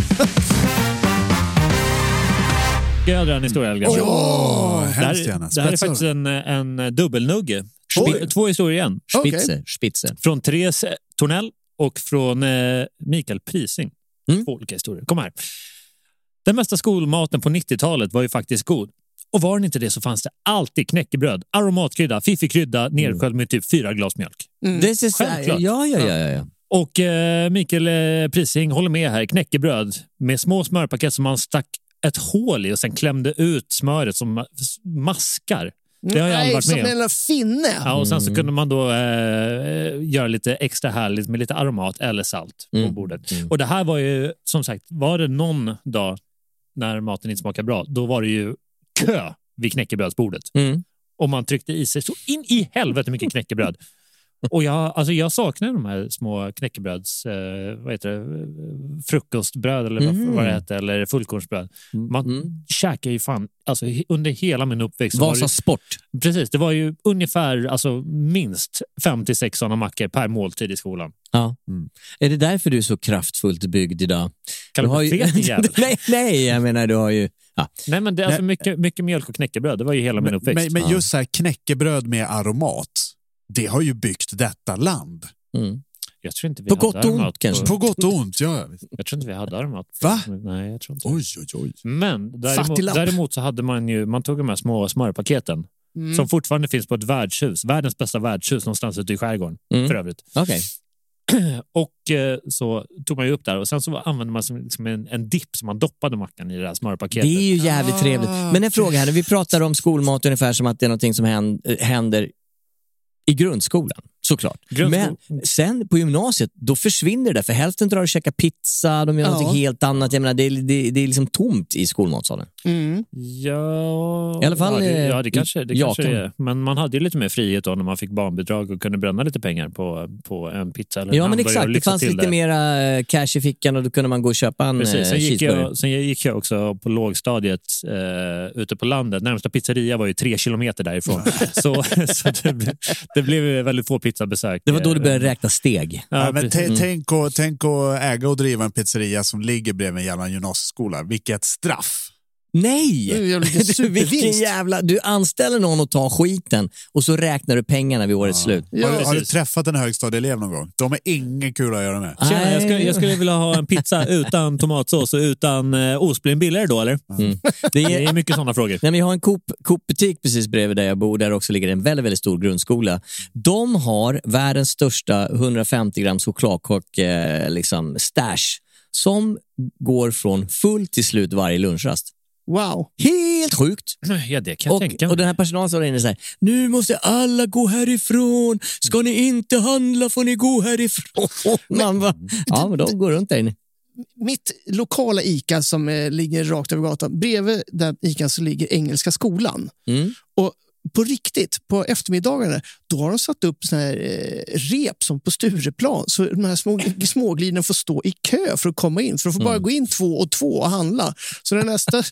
S4: jag dra en historia? Elgar?
S3: Åh,
S4: det här,
S3: hemskt gärna.
S4: det här är
S3: Spetsa
S4: faktiskt
S3: dem.
S4: en, en eh, dubbelnugge.
S5: Oj.
S4: Två historier igen.
S5: Okej.
S6: Spitzer. Spitzer.
S4: Från Therese Tornell och från eh, Mikael Prising.
S6: Mm.
S4: Två olika historier. Kom här. Den mesta skolmaten på 90-talet var ju faktiskt god. Och var den inte det så fanns det alltid knäckebröd, aromatkrydda, fiffig krydda, nersköljd med typ fyra glas mjölk.
S5: Mm.
S6: This is... Ja,
S4: Självklart.
S6: ja, ja. ja, ja.
S4: Och eh, Mikael eh, Prising håller med här. Knäckebröd med små smörpaket som man stack ett hål i och sen klämde ut smöret som ma- maskar. Det har jag aldrig
S5: Nej,
S4: varit med
S5: som
S4: om.
S5: en jävla finne.
S4: Ja, och
S6: Mm.
S4: sen så kunde man då eh, göra lite extra härligt med lite aromat eller salt på
S6: Mm.
S4: bordet.
S6: Mm.
S4: Och det här var ju, som sagt, var det någon dag när maten inte smakade bra, då var det ju kö vid knäckebrödsbordet.
S6: Mm.
S4: Och man tryckte i sig så in i helvete mycket
S6: *laughs*
S4: knäckebröd. Och jag, alltså jag saknar de här små knäckebröds... Eh, vad heter det? Frukostbröd eller vad-
S6: Mm.
S4: vad det heter, eller fullkornsbröd. Man
S6: Mm.
S4: käkar ju fan... Alltså, he- under hela min uppväxt... så var det-
S6: Vasa Sport.
S4: Precis, det var ju ungefär alltså, minst 56 sådana mackor per måltid i skolan.
S6: Ja.
S3: Mm.
S6: Är det därför du är så kraftfullt byggd idag?
S4: Kan du
S6: har
S4: bli
S6: *laughs*
S4: fet, din jävel?
S6: nej, nej, jag menar du har ju... Ja.
S4: Nej, men det är alltså mycket, mycket mjölk och knäckebröd. Det var ju hela min
S3: Men,
S4: uppväxt.
S3: men, men just så här, knäckebröd med aromat, det har ju byggt detta land.
S6: Mm.
S4: jag tror inte vi
S6: På
S4: hade
S6: gott och ont,
S4: aromat
S6: kanske.
S3: På gott och ont, ja. ja, visst.
S4: Jag tror inte vi hade aromat.
S3: Va?
S4: Nej, jag tror inte
S3: Oj, oj, oj.
S4: Men däremot,
S5: Fattiglapp.
S4: däremot så hade man ju, man tog de här små smörpaketen
S3: Mm.
S4: som fortfarande finns på ett värdshus, världens bästa värdshus någonstans ute i skärgården
S6: Mm.
S4: för övrigt.
S6: Okej.
S4: Och eh, så tog man ju upp där och sen så använde man som, liksom en, en dipp som man doppade mackan i det här smörpaketet.
S6: Det är ju jävligt trevligt. Men en fråga här, vi pratar om skolmat ungefär som att det är någonting som hän- händer i grundskolan. Såklart. Men sen på gymnasiet, då försvinner det där. För hälften drar och käkar pizza, de gör
S4: Ja.
S6: något helt annat. Jag menar, det, är- det, det är liksom tomt i skolmatsalen.
S4: Ja,
S6: I alla fall,
S4: ja, det,
S6: eh,
S4: ja, det kanske, det
S6: ja,
S4: kanske
S6: kan-
S4: är. Men man hade ju lite mer frihet då när man fick barnbidrag och kunde bränna lite pengar på, på en pizza eller en
S6: Ja, men
S4: hamburgare och
S6: exakt. Det
S4: lyxa
S6: fanns
S4: till
S6: lite eh, mera eh, cash i fickan och då kunde man gå och köpa en
S4: Precis.
S6: Precis,
S4: Sen, gick
S6: cheeseburgare.
S4: jag, sen gick jag också på lågstadiet eh, ute på landet. Närmsta pizzeria var ju tre kilometer
S6: *laughs*
S4: därifrån. så så det, blev- det blev ju väldigt få pizzabesök. eh,
S6: Det var då du började räkna steg.
S4: Ja,
S3: Ja, men
S4: precis.
S3: t-
S4: Mm.
S3: tänk, att, tänk att äga och driva en pizzeria som ligger bredvid en jävla gymnasieskola. Vilket straff!
S6: Nej!
S3: Det är ju jävla
S6: *laughs* Du, Vilken
S3: supervinst.
S6: jävla... Du anställer någon och tar skiten och så räknar du pengarna vid årets slut.
S3: har, du, har du träffat en högstadieelev någon gång? De är ingen kul att göra med.
S4: Tjena, jag, skulle, jag skulle vilja ha en
S3: *laughs*
S4: pizza utan tomatsås och utan eh, ost. Blir den billigare då eller?
S6: Det
S4: *laughs* Det är mycket sådana frågor.
S6: Nej, men jag har en Coop- Coop-butik precis bredvid där jag bor, där också ligger en väldigt, väldigt stor grundskola. De har världens största 150 grams chokladkock eh, liksom, stash som går från full till slut varje lunchrast.
S5: Wow.
S6: Helt sjukt!
S4: *clears throat* Ja, det kan jag
S6: Och,
S4: tänka mig.
S6: och den här personalen som var inne så här, nu måste alla gå härifrån. Ska ni inte handla får ni gå härifrån.
S3: *laughs*
S6: Man bara, ja, men de går runt där inne.
S5: mitt lokala ICA som eh, ligger rakt över gatan, bredvid den ICA så ligger Engelska skolan.
S6: Mm.
S5: Och på riktigt, på eftermiddagarna, då har de satt upp såna här eh, rep som på Stureplan, så de här små, *laughs* småglinorna får stå i kö för att komma in. För de får
S6: Mm.
S5: bara gå in två och två och handla. Så när nästa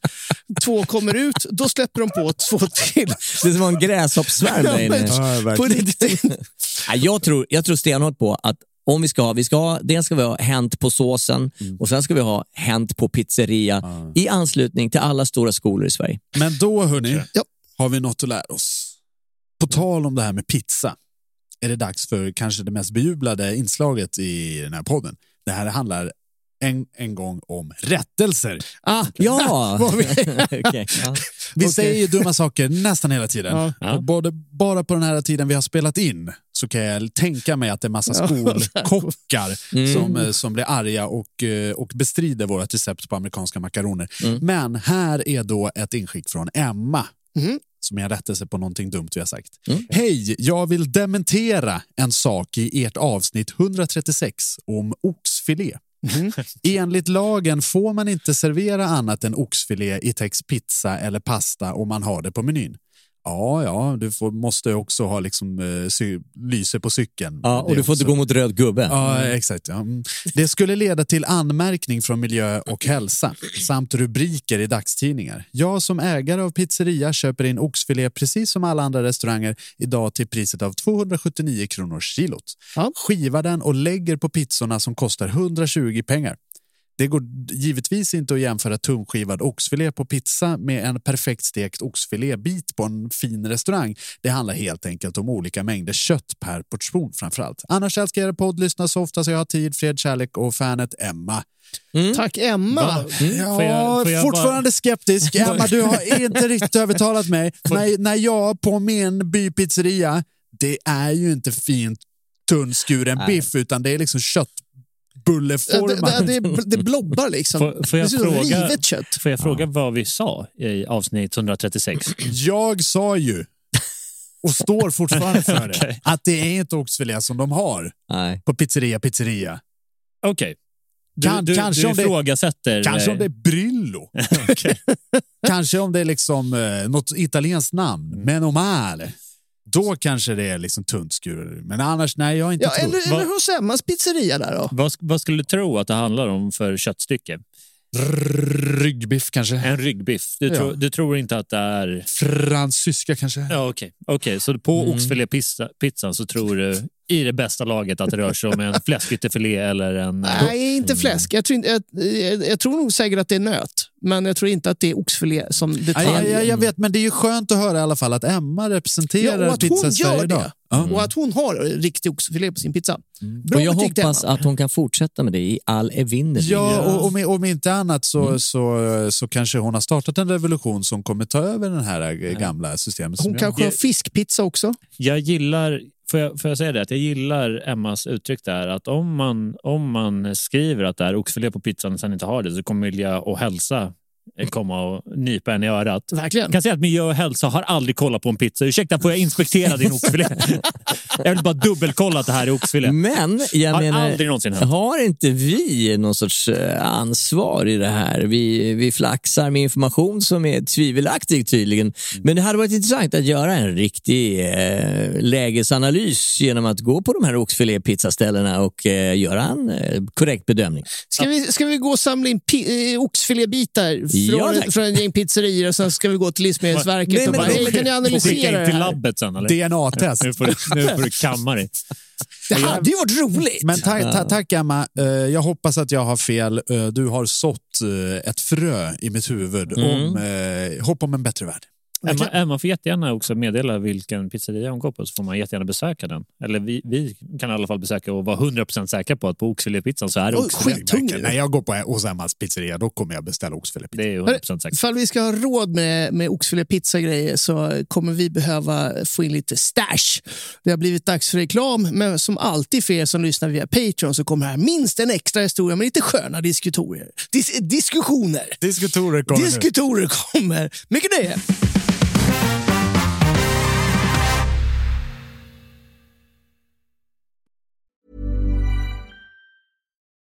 S5: två kommer ut, då släpper de på två till.
S6: *laughs* Det är som en gräshoppssvärm
S5: *laughs*
S6: där
S3: *laughs*
S5: Ja, men- Ja,
S6: inne.
S5: verkligen. på riktigt.
S6: Nej, jag, tror, jag tror stenhårt på att om vi ska ha, vi ska ha, dels ska vi ha hänt på såsen
S5: Mm.
S6: och sen ska vi ha hänt på pizzeria i anslutning till alla stora skolor i Sverige.
S3: Men då, hörni, har vi något att lära oss. På tal om det här med pizza är det dags för kanske det mest bejublade inslaget i den här podden. Det här handlar en, en gång om rättelser.
S6: Ah, ja!
S3: *laughs* Vad vi
S6: *laughs* Okej, ja.
S3: vi
S6: Okej.
S3: säger ju dumma saker nästan hela tiden.
S6: Ja.
S3: Och Både, bara på den här tiden vi har spelat in så kan jag tänka mig att det är massa
S6: Ja. *laughs*
S3: skolkockar
S6: Mm.
S3: som, eh, som blir arga och, eh, och bestrider vårt recept på amerikanska makaroner.
S6: Mm.
S3: Men här är då ett inskick från Emma
S6: Mm.
S3: som är en rättelse på någonting dumt vi har sagt. Hej, jag vill dementera en sak i ert avsnitt 136 om oxfilé. Enligt lagen får man inte servera annat än oxfilé i text pizza eller pasta om man har det på menyn. Ja, ja, du får, måste också ha liksom, eh, sy, lyse på cykeln.
S6: Ja,
S3: Det
S6: och
S3: är
S6: du får inte
S3: också-
S6: gå mot röd gubbe.
S3: Ja, exakt. Ja. Mm. Det skulle leda till anmärkning från miljö och hälsa samt rubriker i dagstidningar. Jag som ägare av pizzeria köper in oxfilé precis som alla andra restauranger idag till priset av 279 kronor kilot. Skivar den och lägger på pizzorna som kostar 120 pengar. Det går givetvis inte att jämföra tumskivad oxfilé på pizza med en perfekt stekt oxfilébit på en fin restaurang. Det handlar helt enkelt om olika mängder kött per portion framför allt. Annars älskar jag er podd, lyssna så ofta så jag har tid, fred, kärlek och fanet Emma.
S6: Mm.
S5: Tack Emma!
S3: Ja,
S4: *laughs*
S3: fortfarande skeptisk. Emma, du har inte riktigt övertalat mig. När, när jag på min bypizzeria, det är ju inte fint tunnskuren
S4: Nej.
S3: biff utan det är liksom köttbulleformat.
S5: Det, det, det, det blobbar liksom.
S4: Får, får, jag
S5: det är så
S4: fråga,
S5: rivet kött.
S4: får jag fråga vad vi sa i avsnitt 136?
S3: Jag sa ju, och står fortfarande
S4: *laughs*
S3: för det, att det är inte oxfilé som de har
S6: *clears throat* Nej.
S3: på pizzeria pizzeria.
S4: Okej. Du,
S3: Kan-
S4: du,
S3: kanske
S4: du
S3: om det-
S4: ifrågasätter... eh,
S3: Kanske om det är
S4: *laughs*
S3: Brillo. Kanske om det är liksom eh, något italienskt namn,
S4: Mm.
S3: men om är då kanske det är liksom tunt skuret. Men annars, nej, jag är inte
S5: Ja,
S3: ja,
S5: eller, eller hos Emmas pizzeria där då.
S4: Vad, vad skulle du tro att det handlar om för köttstycke?
S3: Ryggbiff kanske?
S4: En ryggbiff. Du,
S3: Ja.
S4: tror, du tror inte att det är...
S3: Fransyska kanske?
S4: Ja, Okej, Okej, så på
S3: Mm.
S4: oxfilépizza- pizzan så tror du i det bästa laget att det rör sig
S5: *laughs*
S4: om en fläskytterfilé eller en... eh,
S5: Nej, inte
S6: Mm.
S5: fläsk. Jag tror, inte, jag, jag, jag tror nog säkert att det är nöt, men jag tror inte att det är oxfilé som
S3: Ja,
S5: detalj.
S3: jag, jag, jag vet, men det är ju skönt att höra i alla fall att Emma representerar
S5: Ja, och att
S3: Pizza
S5: hon
S3: Sverige
S5: gör
S3: idag.
S5: det.
S3: Ja.
S5: Och att hon har riktig oxfilé på sin pizza. Bra
S6: Mm. Och jag
S5: betyg till
S6: hoppas
S5: Emma.
S6: att hon kan fortsätta med det i all evinnerlighet.
S3: Ja, och om, om inte annat så,
S4: Mm.
S3: så, så kanske hon har startat en revolution som kommer ta över den här eh, gamla systemet. som
S5: Hon
S3: jag-
S5: kanske har fiskpizza också.
S4: Jag gillar, får jag, får jag säga det, att jag gillar Emmas uttryck där att om man, om man skriver att det är oxfilé på pizzan och sen inte har det så kommer miljö och hälsa komma och nypa en i örat.
S5: Verkligen.
S4: kan säga att miljö och hälsa har aldrig kollat på en pizza. Ursäkta, får jag inspektera
S5: *laughs*
S4: din oxfilé? jag vill bara dubbelkolla att det här är oxfilé.
S6: Men jag
S4: har
S6: menar,
S4: aldrig någonsin hänt.
S6: har inte vi någon sorts eh, ansvar i det här? Vi, vi flaxar med information som är tvivelaktig tydligen. Men det hade varit intressant att göra en riktig eh, lägesanalys genom att gå på de här oxfilépizzaställena och eh, göra en eh, korrekt bedömning.
S5: Ska vi, ska vi gå och samla in pi- eh, oxfilébitar från,
S6: Ja, tack.
S5: från en gäng pizzerior och sen ska vi gå till Livsmedelsverket
S4: Nej,
S5: och
S4: men
S5: bara,
S4: det-
S5: "Hej, kan ni
S4: Skicka
S5: analysera
S4: in
S5: det
S4: till
S5: här?
S4: labbet sen eller?
S3: DNA-test.
S4: Nu får du, nu
S5: *laughs*
S4: får du kamma dig.
S5: Det hade ju varit roligt!
S3: Men ta, ta, tack Emma. Eh, Jag hoppas att jag har fel. Eh, Du har sått eh, ett frö i mitt huvud om eh, hopp om en bättre värld.
S4: Emma, Emma får jättegärna också meddela vilken pizzeria hon går på så får man jättegärna besöka den. Eller vi, vi kan i alla fall besöka och vara 100% säkra på att på oxfilépizzan så är det
S5: Oj,
S4: oxfilé.
S5: skittung är
S3: När jag går på hos Emmas pizzeria, då kommer jag beställa oxfilé.
S4: Det är 100% säkert.
S5: Ifall vi ska ha råd med, med oxfilépizza-grejer så kommer vi behöva få in lite stash. Det har blivit dags för reklam, men som alltid för er som lyssnar via Patreon så kommer här minst en extra historia med lite sköna diskutorer. Dis- diskussioner.
S3: Diskutorer kommer nu.
S5: Diskutorer kommer. Mycket nöje!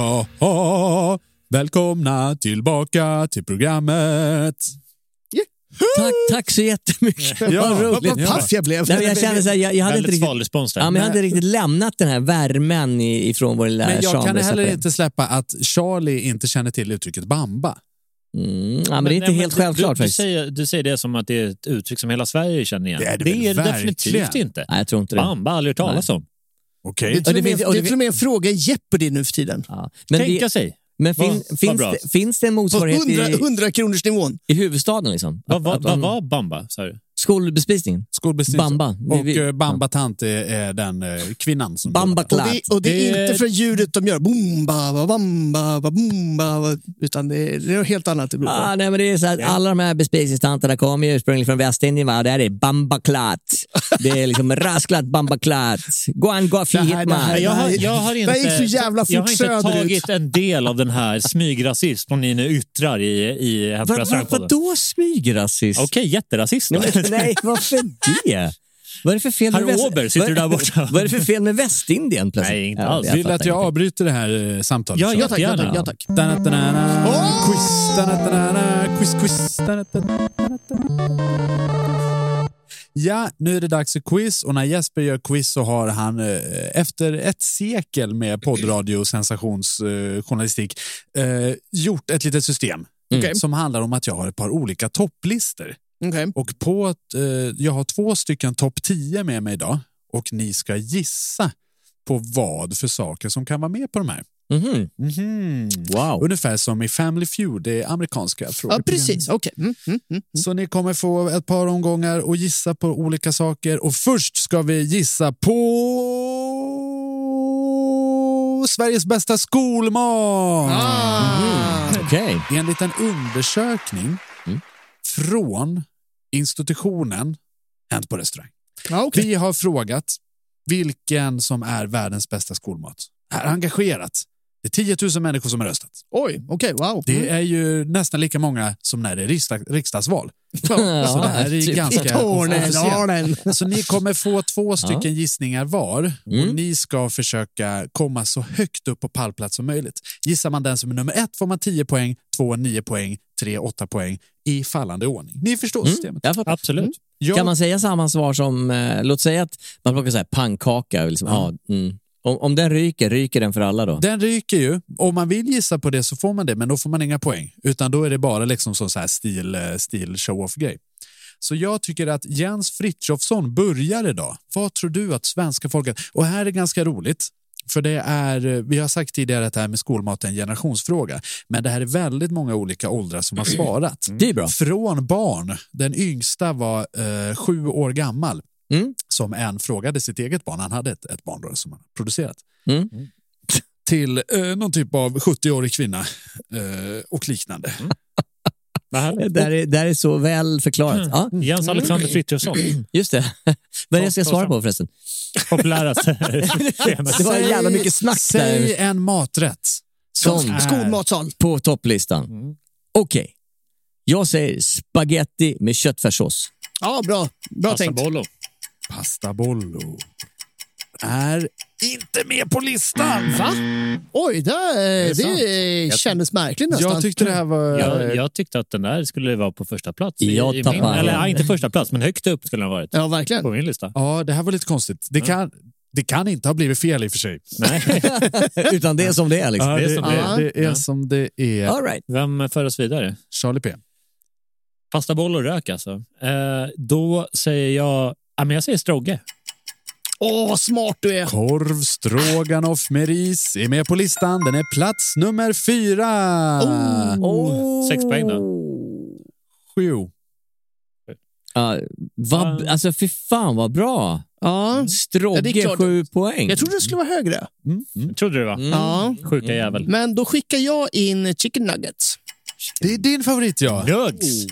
S3: Jaha, välkomna tillbaka till programmet.
S6: Tack, tack så jättemycket.
S3: Ja,
S6: Vad roligt.
S3: vad paff jag blev.
S6: Nej, men jag kände så här, jag, jag hade
S4: Väldigt
S6: inte riktigt...
S4: sval respons där.
S6: Ja, men jag hade
S4: Nej.
S6: inte riktigt lämnat den här värmen i- ifrån vår lilla
S3: Men jag kan
S6: chambre, så
S3: heller
S6: att det-
S3: inte släppa att Charlie inte känner till uttrycket bamba.
S6: Mm, ja, men det är inte
S4: nej,
S6: helt
S4: du-
S6: självklart
S4: du, du,
S6: faktiskt.
S4: säger, du säger det som att det är ett uttryck som hela Sverige känner igen.
S3: Det är det väl
S4: definitivt
S3: verkligen.
S4: inte.
S6: Nej, jag tror inte det.
S4: Bamba har aldrig hört talas om.
S3: Okej.
S5: Det är till och
S6: Och det
S5: med,
S6: finns- och
S5: det är
S6: det
S5: till och med en fråga i Jeopardy nu för tiden.
S6: Ja.
S4: Tänka
S6: det-
S4: sig.
S6: Men fin,
S4: Vad- vad
S6: finns,
S4: bra.
S6: det, finns det en
S5: På
S6: motsvarighet
S5: 100,
S6: i,
S5: 100 kronors nivån.
S6: i huvudstaden? Liksom?
S4: Vad
S6: Att-
S4: vad-
S6: att
S4: vad
S6: de-
S4: var bamba? Sa du?
S6: Skolbespisningen.
S3: Skolbespisningen.
S6: Bamba. Vi-
S3: Och
S6: vi-
S3: eh, Bamba Tant är, är den eh, kvinnan som...
S6: Bamba
S5: Och det, och det är inte för ljudet de gör, boom, ba, ba, bam, ba, ba, boom, ba, ba, utan det är, det är något helt annat det beror på.
S6: Ah, nej, men det är så att alla de här bespisningstanterna kommer ju ursprungligen från Västindien. Va? Det här är bambaklat. Det är liksom rasklat bambaklat. Guan gafi
S5: Det här- det här-
S6: hitman.
S4: Jag har, jag har inte, jag har inte tagit en del av den här smygrasism som ni nu yttrar i, i Hänt på
S6: Vad- vad-
S4: restaurangpodden.
S6: Vadå smygrasist?
S4: Okej, jätterasist då.
S6: Nej,
S4: *laughs*
S6: men- nej, varför det? Vad är det för fel
S4: Herr Åberg, sitter du där borta?
S6: Vad är det för fel med Västindien plötsligt?
S4: Nej, inte
S6: Ja,
S4: alls.
S6: jag
S3: Vill du att
S6: fattar
S3: jag
S6: inte.
S3: avbryter det här eh, samtalet?
S4: Ja,
S3: så?
S4: ja, tack, ja, tack, ja,
S6: tack.
S3: Da-na-da-na-na. Quiz, da-na-da-na-na. quiz, quiz. da-na-da-na-na. Ja, nu är det dags för quiz och när Jesper gör quiz så har han eh, efter ett sekel med poddradio och sensationsjournalistik eh, gjort ett litet system
S5: Mm.
S3: som handlar om att jag har ett par olika topplistor.
S5: Okej.
S3: Och på att, eh, jag har två stycken topp 10 med mig idag och ni ska gissa på vad för saker som kan vara med på de här.
S4: Mhm.
S5: Mhm.
S6: Wow.
S3: Ungefär som i Family Feud, det är amerikanska
S5: Ja,
S3: frågeprogram.
S5: precis. Okej. Mm, mm, mm.
S3: Så ni kommer få ett par omgångar och gissa på olika saker. Och först ska vi gissa på Sveriges bästa skolmat.
S5: Ah.
S4: Ah.
S6: Mhm.
S5: Mm.
S6: Okej.
S3: Enligt en undersökning från institutionen Hänt på restaurang. Vi har frågat vilken som är världens bästa skolmat. Här är engagerat. Det är 10 000 människor som har röstat.
S5: Oj, okej, wow. Mm.
S3: Det är ju nästan lika många som när det är riksdag,
S5: *laughs*
S3: riksdagsval.
S5: Ja,
S3: så det här är ju
S5: typ.
S3: ganska
S5: Tornen,
S3: officiellt.
S5: Arlen.
S3: *laughs* Så ni kommer få två stycken gissningar var
S6: Mm.
S3: och ni ska försöka komma så högt upp på pallplats som möjligt. Gissar man den som är nummer ett får man 10 poäng, två 9 poäng, tre 8 poäng i fallande ordning. Ni förstår systemet.
S6: Mm.
S3: Mm.
S6: Jag fattar.
S4: Absolut.
S3: Ja.
S6: Kan man säga samma svar som, eh, låt säga att man plockar så här pannkaka. och Liksom, ja. mm. om, om den ryker, ryker den för alla då?
S3: Den ryker ju. Om man vill gissa på det så får man det, men då får man inga poäng. Utan då är det bara liksom som så här stil, eh, stil show-off-grej. Så jag tycker att Jens Frithiofsson börjar idag. Vad tror du att svenska folket... Och här är ganska roligt. För det är, eh, vi har sagt tidigare att det här med skolmat är en generationsfråga. Men det här är väldigt många olika åldrar som har svarat.
S6: Det är bra.
S3: Från barn. Den yngsta var eh, sju år gammal.
S6: Mm.
S3: Som en frågade sitt eget barn. Han hade ett, ett barn då som han producerat
S6: Mm.
S3: till eh, någon typ av 70-årig kvinna eh, och liknande.
S6: Det Eh, där är, det här är så väl förklarat. Ja.
S4: Mm.
S6: Mm.
S4: Jens Alexander Frithiofsson.
S6: *clears throat* Just det. *laughs* Vad är det jag ska svara på förresten?
S4: Populäraste.
S6: *laughs* Det var
S3: Säg-
S6: jävla mycket snack
S3: Säg
S6: där.
S3: en maträtt.
S6: Som
S3: är-
S5: Skolmatsal.
S6: på topplistan.
S4: Mm.
S6: Okej. Jag säger spaghetti med köttfärssås.
S5: Ja, bra. Bra tänkt.
S4: Bollo.
S3: Pasta bollo. Är inte med på listan.
S5: Va? Oj, det,
S4: är
S5: det,
S4: sant.
S5: det kändes märkligt nästan.
S3: Jag tyckte det här var...
S4: Jag, jag tyckte att den där skulle vara på första plats. i-
S6: Jag
S4: i min,
S6: tappar.
S4: eller nej, inte första plats, men högt upp skulle den ha varit
S5: Ja, verkligen.
S4: på min lista.
S3: Ja, det här var lite konstigt. Det kan, det kan inte ha blivit fel i och för sig.
S4: Nej,
S6: *laughs* Utan det är som det är. Liksom.
S4: det är som det är.
S3: Ja, det är
S4: Ja.
S3: som det är.
S6: All right.
S4: Vem för oss vidare?
S3: Charlie P.
S4: Pasta boll och rök alltså. Eh, då säger jag, ja, men jag säger Strogge.
S5: Åh, vad smart du är.
S3: Korv stroganoff med ris är med på listan. Den är plats nummer fyra.
S5: Oh.
S4: Sex poäng då.
S3: Sju.
S6: Ja, vad, alltså, fy fan vad bra.
S5: Ja. Ja, det är
S6: Strogge,
S5: klart.
S6: sju poäng.
S5: Jag trodde det skulle vara högre.
S3: mm,
S5: Mm.
S4: Trodde du va?
S5: Ja.
S4: Sjuka jävel.
S5: Men då skickar jag in chicken nuggets.
S3: Det är din favorit, ja. Oh.
S4: Nugs!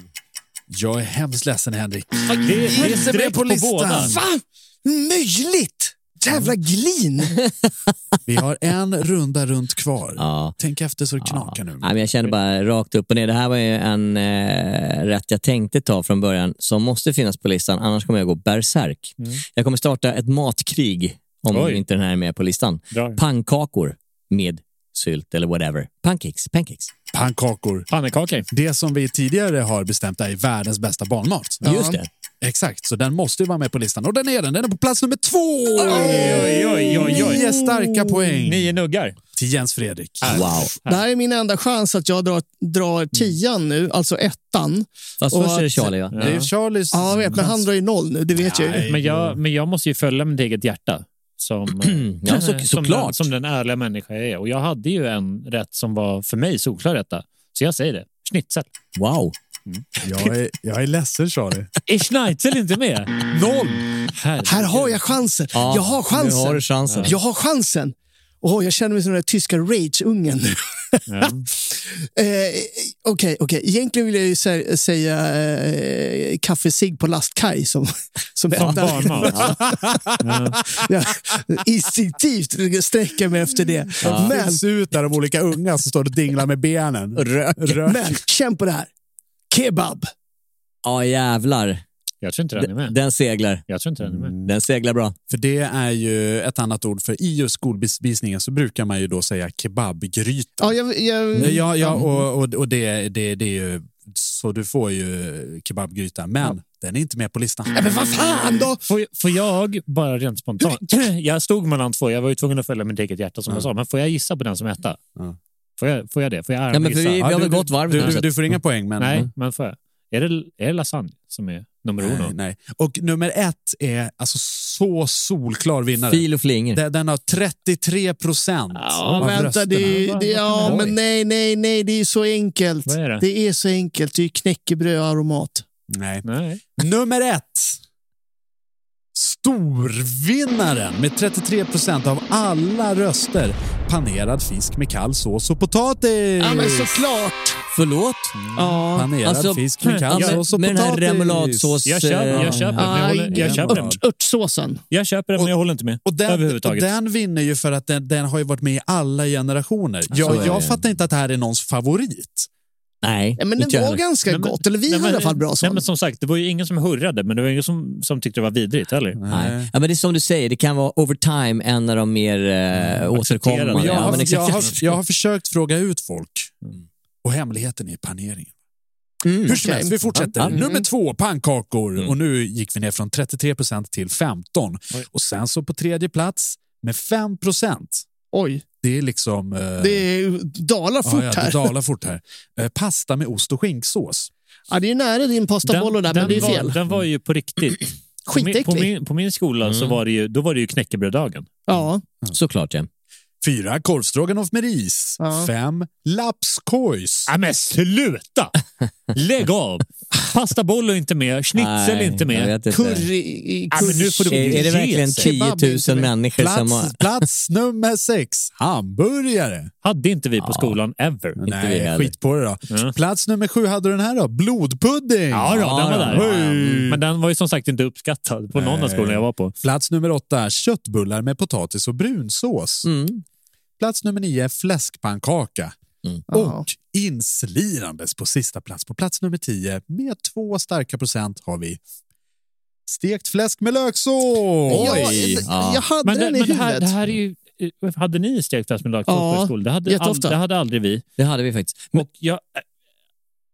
S3: Jag är hemskt ledsen, Henrik.
S4: Det, det är streck på, båda.
S5: Va? Hur möjligt? Jävla glin!
S3: *laughs* Vi har en runda runt kvar.
S6: Ja.
S3: Tänk efter så det knakar nu.
S6: Nej, men jag känner bara rakt upp och ner. Det här var ju en eh, rätt jag tänkte ta från början som måste finnas på listan, annars kommer jag gå bärsärk. Jag kommer starta ett matkrig om
S4: Mm. Oj.
S6: inte den här är med på listan.
S4: Dra.
S6: Pannkakor med sylt eller whatever. Pancakes. pancakes.
S3: Pannkakor.
S4: Pannekakor.
S3: Det som vi tidigare har bestämt är världens bästa barnmat.
S6: Just det.
S3: Exakt, så den måste ju vara med på listan. Och den är den. Den är på plats nummer två!
S4: Oj, oj, oj, oj.
S3: Nio starka poäng
S4: Nio nuggar. Äh.
S3: till Jens Fredrik.
S6: Wow.
S5: Det här är min enda chans att jag drar, drar tian nu, alltså ettan.
S6: Fast
S5: Och
S6: först är det
S5: att-
S6: Charlie, va?
S3: Det är Charlies
S5: Ja, jag vet, men han
S3: chans.
S5: drar ju noll nu, det vet jag ju.
S4: Men jag, men jag måste ju följa mitt eget hjärta.
S5: *clears throat*
S4: Som, eh,
S6: Ja, så-
S4: som,
S6: såklart.
S4: den, som den ärliga människa jag är. Och jag hade ju en rätt som var för mig solklar rätta. Så jag säger det. Schnitzel.
S6: Wow.
S3: Jag är, jag är
S4: *laughs*
S3: ledsen Charlie.
S4: Är Schneitzel inte med?
S3: Noll!
S5: Här har jag chansen.
S3: Ja,
S5: jag har
S3: nu
S5: chansen.
S3: har du chansen.
S5: Jag har chansen. Åh, jag känner mig som den där tyska rage-ungen.
S4: Ja.
S5: *laughs* Eh, Okej, okej. Egentligen vill jag ju sä- säga eh, kaffesig på lastkaj som, som
S4: Som
S5: enda-
S4: barnmat. *laughs*
S5: ja, instinktivt sträcker jag mig efter det.
S3: Ja.
S5: Men,
S3: Finns ut där de olika unga som står och dinglar med benen.
S6: Rök.
S5: men känn på det här. Kebab.
S6: Ja, jävlar.
S4: Jag tror inte den är med.
S6: Den seglar. Mm,
S4: Jag tror inte den är med.
S6: Den seglar bra.
S3: För det är ju ett annat ord för i just skolbespisningen så brukar man ju då säga kebabgryta. Mm.
S5: Ja, jag, jag,
S8: Mm.
S3: Nej, Ja, ja och, och, och det, det, det är ju så du får ju kebabgryta, men den är inte med på listan.
S5: Men vad fan då?
S4: Får, får jag bara rent spontant? *clears throat* Jag stod mellan två. Jag var ju tvungen att följa mitt eget hjärta som jag sa. Men får jag gissa på den som etta?
S3: Ja.
S4: Får jag, får jag det? Får jag
S6: Ja, men för
S4: gissa?
S6: vi- vi har väl gått varv
S3: Du,
S6: nu, så
S3: du,
S6: att-
S3: du får inga poäng, men...
S4: Nej, men får jag? Är det, är det lasagne som är nummer
S3: Nej,
S4: uno?
S3: nej. Och nummer ett är alltså så solklar vinnare.
S6: Fil och flinger.
S3: Den, den har 33 procent
S4: Ja,
S3: av
S5: Vänta,
S3: rösterna.
S5: det, är- det, ja,
S4: Oj.
S5: men nej, nej, nej, det är så enkelt.
S4: Vad är det?
S5: är så enkelt. Det är knäckebröd och aromat.
S3: Nej.
S4: Nej.
S3: Nummer ett. Storvinnaren med 33 procent av alla röster. Panerad fisk med kall sås och potatis.
S5: Ja, men såklart!
S6: Förlåt?
S4: Mm.
S5: Ja.
S3: Panerad
S6: Alltså,
S3: fisk med kall
S6: ja, men-
S3: sås och
S6: med den här
S3: potatis.
S6: remouladsås-
S4: Jag köper,
S6: Eh,
S4: jag köper, den, men jag håller, jag köper, den.
S5: Ört, örtsåsen.
S4: Jag köper den, men jag håller inte med.
S3: Och den, och
S4: Överhuvudtaget.
S3: den vinner ju för att den, den har ju varit med i alla generationer.
S6: Så är
S3: Jag,
S6: det.
S3: jag fattar inte att det här är någons favorit.
S6: Nej,
S5: Ja, men
S6: inte
S5: det
S6: jag
S5: var
S6: heller.
S5: ganska
S4: Nej, men-
S5: gott. Eller vi
S4: nej,
S5: hade i
S4: men-
S5: alla fall bra
S4: nej, men
S5: sås.
S4: som sagt, det var ju ingen som hurrade, men det var ingen som, som tyckte det var vidrigt heller.
S6: Nej. Ja, men det är som du säger, det kan vara over time en av de mer eh, återkommande.
S4: accepterade.
S3: Jag
S4: Ja,
S3: har,
S6: men
S3: alltså, jag,
S6: exakt.
S3: har, jag har försökt fråga ut folk
S5: Mm.
S3: och hemligheten är paneringen.
S6: Mm.
S3: Hur som
S5: okej.
S3: helst, vi fortsätter.
S6: Ja. Mm.
S3: Nummer två, pannkakor.
S5: Mm.
S3: Och nu gick vi ner från 33 procent till 15. Och sen så på tredje plats med 5 procent.
S5: Oj,
S3: Det är liksom... eh,
S5: det är- dalar fort
S3: ja, ja, det
S5: här.
S3: dalar fort här. Eh, pasta med ost och skinksås.
S5: Ja, det är nära din pastabollo där, men det är
S4: var,
S5: fel.
S4: den var ju på
S3: *clears throat*
S4: riktigt. På min, på
S5: Skitäcklig.
S4: min, på min skola
S5: Mm.
S4: så var det ju, då var det ju knäckebröddagen.
S5: Ja.
S6: Såklart, ja.
S3: Fyra, korvstroganoff med ris.
S5: Ja.
S3: Fem, lapskojs.
S4: Ja, men sluta! Lägg
S6: *laughs*
S4: av! Pastaboll är inte med, schnitzel är
S6: Nej,
S4: inte
S6: jag
S4: med.
S6: vet inte.
S5: Curry... i-
S4: Ja, men nu får du-
S6: Är, är det verkligen
S4: Jesus.
S6: 10
S5: Kebab är inte
S6: 000
S5: med.
S6: människor som har...
S3: Plats, plats nummer sex, hamburgare.
S4: Hade inte vi på skolan ever.
S6: vi
S3: Nej,
S6: heller.
S3: skit på det då.
S4: Ja.
S3: Plats nummer sju hade du den här då, blodpudding.
S4: Ja, då, den var
S6: Ja,
S4: där.
S6: då.
S4: Mm. Men den var ju som sagt inte uppskattad på någon av
S3: Nej.
S4: skolorna jag var på.
S3: Plats nummer åtta, köttbullar med potatis och brunsås.
S6: Mm.
S3: Plats nummer nio, fläskpannkaka.
S5: Ja.
S3: Och inslirandes på sista plats, på plats nummer tio, med två starka procent har vi stekt fläsk med löksås.
S5: Ja,
S6: Oj,
S5: jag-
S6: ja.
S5: Jag hade
S4: Men, det,
S5: den i
S4: men det, här,
S5: huvudet.
S4: det här är ju... eh, Hade ni stekt fläsk med löksås
S5: Ja,
S4: på er skola? Det hade, all,
S5: jätteofta.
S4: det hade aldrig vi.
S6: Det hade vi faktiskt. Men,
S4: Och jag,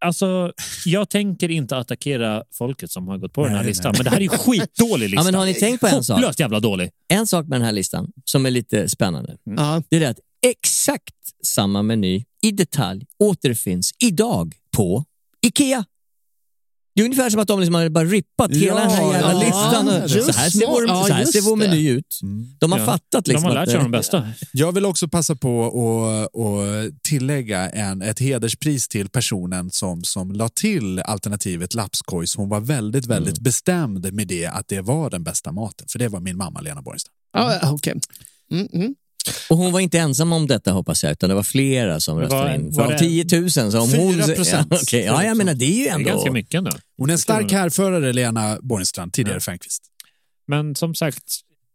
S4: alltså, jag tänker inte attackera folket som har gått på den här
S3: Nej,
S4: listan,
S3: nej.
S4: men det här är ju skitdålig lista.
S6: *laughs* ja, men har ni tänkt på en sak?
S4: Hopplöst jävla dålig.
S6: En sak med den här listan som är lite spännande.
S5: Ja.
S6: Det är det att exakt samma meny i detalj återfinns idag på IKEA. Det är ungefär som att de liksom har bara rippat hela
S3: Ja,
S6: den här jävla
S3: ja,
S6: listan.
S5: just
S6: Så här ser vår,
S5: smart.
S6: så här
S5: Ja,
S6: ser vår
S5: just det. Mm.
S6: meny ut. De har
S4: Ja.
S6: fattat liksom
S4: de har lärt sig
S6: att,
S4: av de bästa.
S3: Jag vill också passa på att att tillägga en, ett hederspris till personen som, som la till alternativet lapskojs. Hon var väldigt, väldigt
S6: Mm.
S3: bestämd med det, att det var den bästa maten. För det var min mamma Lena Borgström.
S5: Ja, ja, okej. Mm, mm.
S6: Och hon var inte ensam om detta hoppas jag, utan det var flera som
S4: Var-
S6: röstade in.
S4: var
S6: För av
S4: det-
S6: 10 000 så om hon...
S3: 4%.
S6: *laughs* Ja, okej. ja, jag menar det är ju
S4: Det är
S6: ändå...
S4: ganska mycket ändå.
S3: Hon är en stark härförare, Lena Borgstrand, tidigare
S4: Ja.
S3: Fernqvist.
S4: Men som sagt,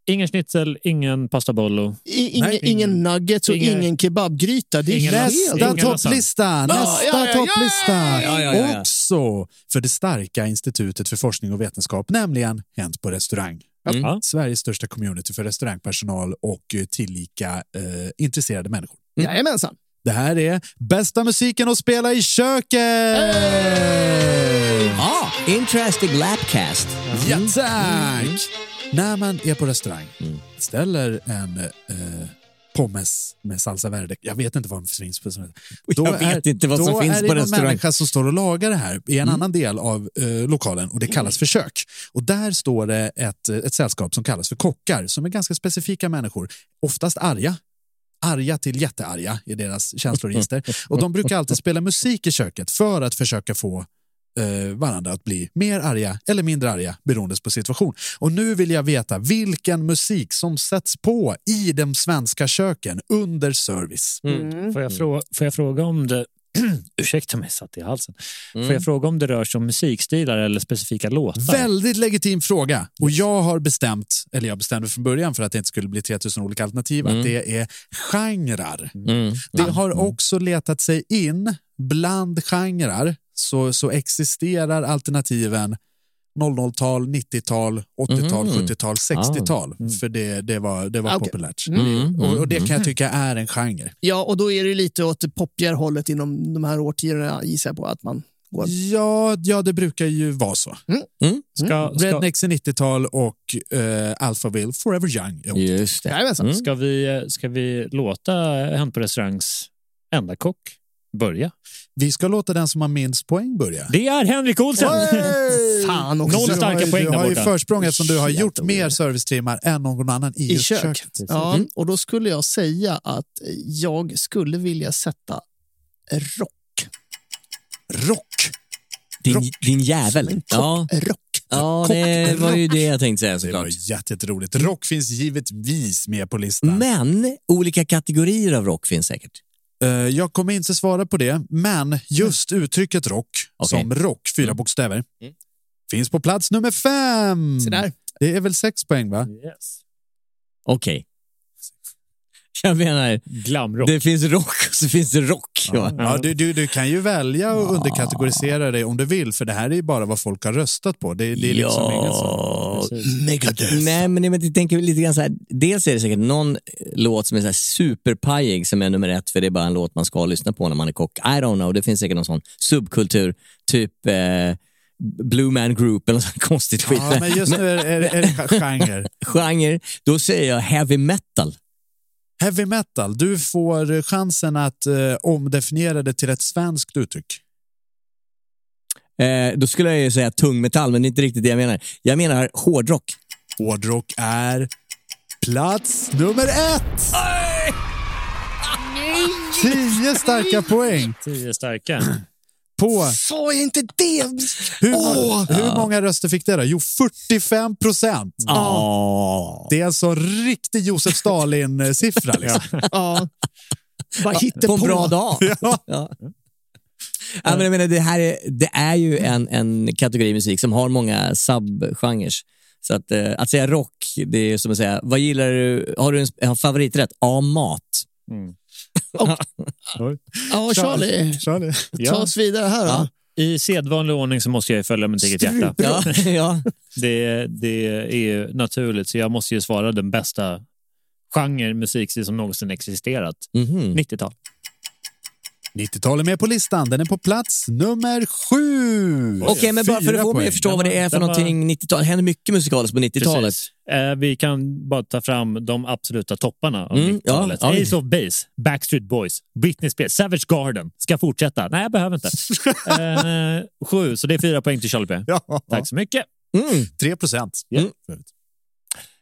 S4: ingen schnitzel, ingen pastabollo.
S5: I- Ingen,
S3: Nej,
S5: ingen, nuggets och
S4: ingen-
S5: ingen, kebabgryta. Det är
S4: ingen
S5: helt...
S4: lasagne.
S3: Nästa
S4: Ingen lasagne.
S3: topplista! Nästa
S5: ja, ja, ja,
S3: topplista!
S6: ja, ja, ja.
S3: Också för det starka institutet för forskning och vetenskap, nämligen Hänt på restaurang.
S6: Mm.
S4: Ja.
S3: Sveriges största community för restaurangpersonal och eh, tillika eh, intresserade människor.
S5: Jajamensan.
S3: Det här är bästa musiken att spela i köket!
S6: Ja, Ah, Interesting Lapcast.
S3: Ja, tack! När man är på restaurang, ställer en eh, pommes med salsa verde. Jag vet inte vad som finns på restaurang.
S6: Jag vet inte vad som
S3: då
S6: finns
S3: är det
S6: på
S3: någon
S6: restaurang. Mm.
S3: människa som står och lagar det här i en annan del av eh, lokalen och det kallas för kök. Och där står det ett, eh, ett sällskap som kallas för kockar som är ganska specifika människor, oftast arga arga till jättearga i deras känsloregister. Och de brukar alltid spela musik i köket för att försöka få eh, varandra att bli mer arga eller mindre arga beroende på situation. Och nu vill jag veta vilken musik som sätts på i de svenska köken under service.
S4: Mm. Får, jag fråga, får jag fråga om det... *clears throat* Ursäkta mig, satt i halsen. Får
S6: Mm.
S4: jag fråga om det rör sig om musikstilar eller specifika låtar?
S3: Väldigt legitim fråga. Och jag har bestämt, eller jag bestämde från början för att det inte skulle bli 3000 olika alternativ,
S4: Mm.
S3: att det är genrer.
S6: Mm.
S3: Det har också letat sig in bland genrer så, så existerar alternativen 00-tal, 90-tal, 80-tal,
S6: Mhm.
S3: 70-tal, 60-tal. För det, det var, det var
S5: okej.
S3: populärt.
S5: Mm.
S3: Och, och det kan jag
S5: Mm.
S3: tycka är en genre.
S5: Ja, och då är det lite åt popjärhållet inom de här årtiondena gissar jag på att man går.
S3: Ja, ja det brukar ju vara så.
S4: Ska,
S5: Mm.
S4: ska-
S3: Rednecks är 90-tal och eh, Alphaville Forever Young. är 80-tal.
S6: Just det. Mm.
S5: Jajamensan.
S4: Ska, vi, eh, ska vi låta Hänt på restaurangs enda kock börja?
S3: Vi ska låta den som har minst poäng börja.
S4: Det är Henrik Olsen! *laughs*
S3: Hey!
S5: Fan också.
S4: Noll
S3: Du har,
S4: starka
S3: ju-
S4: poäng
S3: du
S4: där
S3: har ju
S4: borta.
S3: försprång eftersom du har
S5: Helt
S3: gjort mer servicetimmar än någon annan i,
S5: I
S3: just
S5: kök.
S3: köket.
S5: Ja,
S6: Mm.
S5: och då skulle jag säga att jag skulle vilja sätta rock.
S3: Rock.
S6: Din, din jävel. Ja.
S5: Rock.
S6: ja, det var ju det
S3: *laughs*
S6: jag tänkte säga
S3: Alltså, Det var
S6: såklart.
S3: jätteroligt. Rock finns givetvis med på listan.
S6: Men olika kategorier av rock finns säkert.
S3: Eh, jag kommer inte svara på det, men just uttrycket rock,
S6: Okej.
S3: som rock, fyra bokstäver, finns på plats nummer fem.
S5: Se där.
S3: Det är väl sex poäng, va?
S4: Yes.
S6: Okej. Jag menar,
S4: Glamrock.
S6: det finns rock och så finns det rock.
S3: Ja.
S6: va?
S3: du, du, du kan ju välja att underkategorisera det om du vill, för det här är ju bara vad folk har röstat på. Det, det är liksom inget
S6: ja.
S3: sånt. Megadeth.
S6: Nej, men jag tänker lite grann så här. Dels är det säkert någon eh, låt som är så här superpajig som är nummer ett, för det är bara en låt man ska lyssna på när man är kock. I don't know, det finns säkert någon sån subkultur, typ eh, Blue Man Group eller något sånt konstigt skit.
S3: Ja, men just nu är, är, är det genre.
S6: Genre, då säger jag heavy metal.
S3: Heavy metal, du får chansen att eh, omdefiniera det till ett svenskt uttryck.
S6: Eh, då skulle jag ju säga tungmetall, men det är inte riktigt det jag menar. Jag menar hårdrock.
S3: Hårdrock är plats nummer ett! Tio starka poäng
S4: Tio
S6: *clears throat*
S4: starka.
S3: på...
S5: Sa jag inte det?
S3: Hur, hur många röster fick det då? Jo, 45 procent!
S6: Ja.
S3: Det är alltså en riktig Josef Stalin-siffra. Liksom.
S5: Ja. Vad hittar
S6: På en
S5: *laughs*
S6: bra dag.
S3: Ja.
S6: Ja. Ja, men jag menar, det, här är, det är ju en, en kategori musik som har många subgenres. Så att, eh, att säga rock, det är som att säga, vad gillar du, har du en, en favoriträtt? Ja, mat. *laughs*
S5: Ja, Charlie.
S3: Charlie.
S5: Ta oss vidare här då.
S4: I sedvanlig ordning så måste jag ju följa mitt eget hjärta.
S6: Ja, ja.
S4: *laughs* Det, det är ju naturligt, så jag måste ju svara den bästa genre musik som någonsin existerat.
S6: Mhm.
S4: 90-tal.
S3: 90-talet med på listan. Den är på plats nummer sju.
S6: Okej, men bara för
S3: Fyra
S6: att få mig
S3: poäng.
S6: att förstå vad det är för
S4: Den var-
S6: någonting 90-tal. Det händer mycket musikaliskt på 90-talet.
S4: Precis. Eh, vi kan bara ta fram de absoluta topparna av
S6: Mm,
S4: 90-talet.
S6: ja, ja.
S4: Ace of Base, Backstreet Boys, Britney Spears, Savage Garden. Ska fortsätta? Nej, jag
S3: *laughs*
S4: behöver inte. eh, sju, så det är fyra poäng till Charlie P.
S3: Ja,
S4: Tack så mycket.
S6: Mm.
S3: 3 procent.
S6: Mm.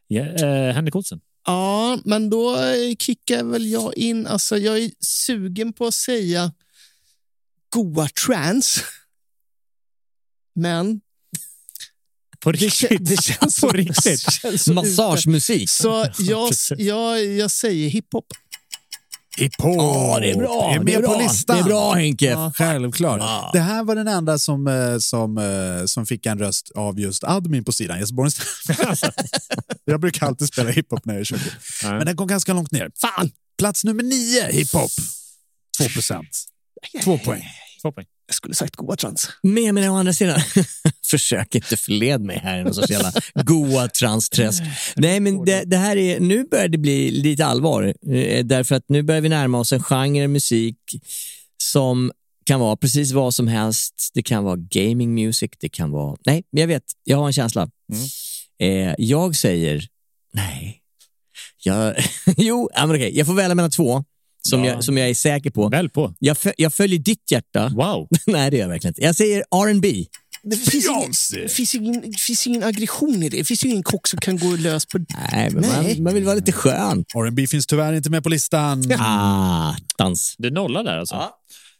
S4: Ja, eh, Henrik Olsen.
S5: Ja, men då eh, kickar väl jag in. Alltså, jag är sugen på att säga goa trans. Men
S4: På
S5: det, kä-
S4: riktigt.
S5: det känns så-
S4: På
S6: *laughs*
S4: riktigt.
S5: det känns så
S6: Massagemusik.
S5: ute.
S3: *laughs*
S5: Så jag, jag, jag säger hiphop.
S3: Hiphop.
S6: Åh, det är bra.
S3: Det är med
S6: det är bra.
S3: på listan.
S6: Det är bra, Henke.
S3: Självklart.
S6: Ja.
S3: Det här var den enda som, eh, som, eh, som fick en röst av just admin på sidan. Jesper Borgenstein. *laughs* jag brukar alltid spela hiphop när jag är i köket.
S4: Nej.
S3: Men den kom ganska långt ner. Fan! Plats nummer nio, hiphop. 2 procent. Två poäng.
S4: Två poäng.
S5: Jag skulle sagt goa trans.
S6: Men jag menar å andra sidan, *laughs* försök inte förled mig här i någon sorts jävla goa *laughs* transträsk. Nej, men det, det här är, nu börjar det bli lite allvar. eh, Därför att nu börjar vi närma oss en genre musik som kan vara precis vad som helst. Det kan vara gaming music, det kan vara... Nej, men jag vet, jag har en känsla. Eh, jag säger, nej. Jag, *laughs* jo, ja, men okej, jag får välja mellan två som,
S4: Ja.
S6: jag, som jag är säker på.
S4: Väl på.
S6: Jag, fö- jag följer ditt hjärta.
S4: Wow.
S6: *laughs* Nej, det gör jag verkligen inte. Jag säger R&B.
S5: Det finns ingen, det finns ingen, det finns ingen aggression i det. Det finns ju ingen kock som kan gå lös på...
S6: Nej, men Man, man vill vara lite skön.
S3: R&B finns tyvärr inte med på listan.
S6: Ah, dans.
S4: Du nollar där alltså.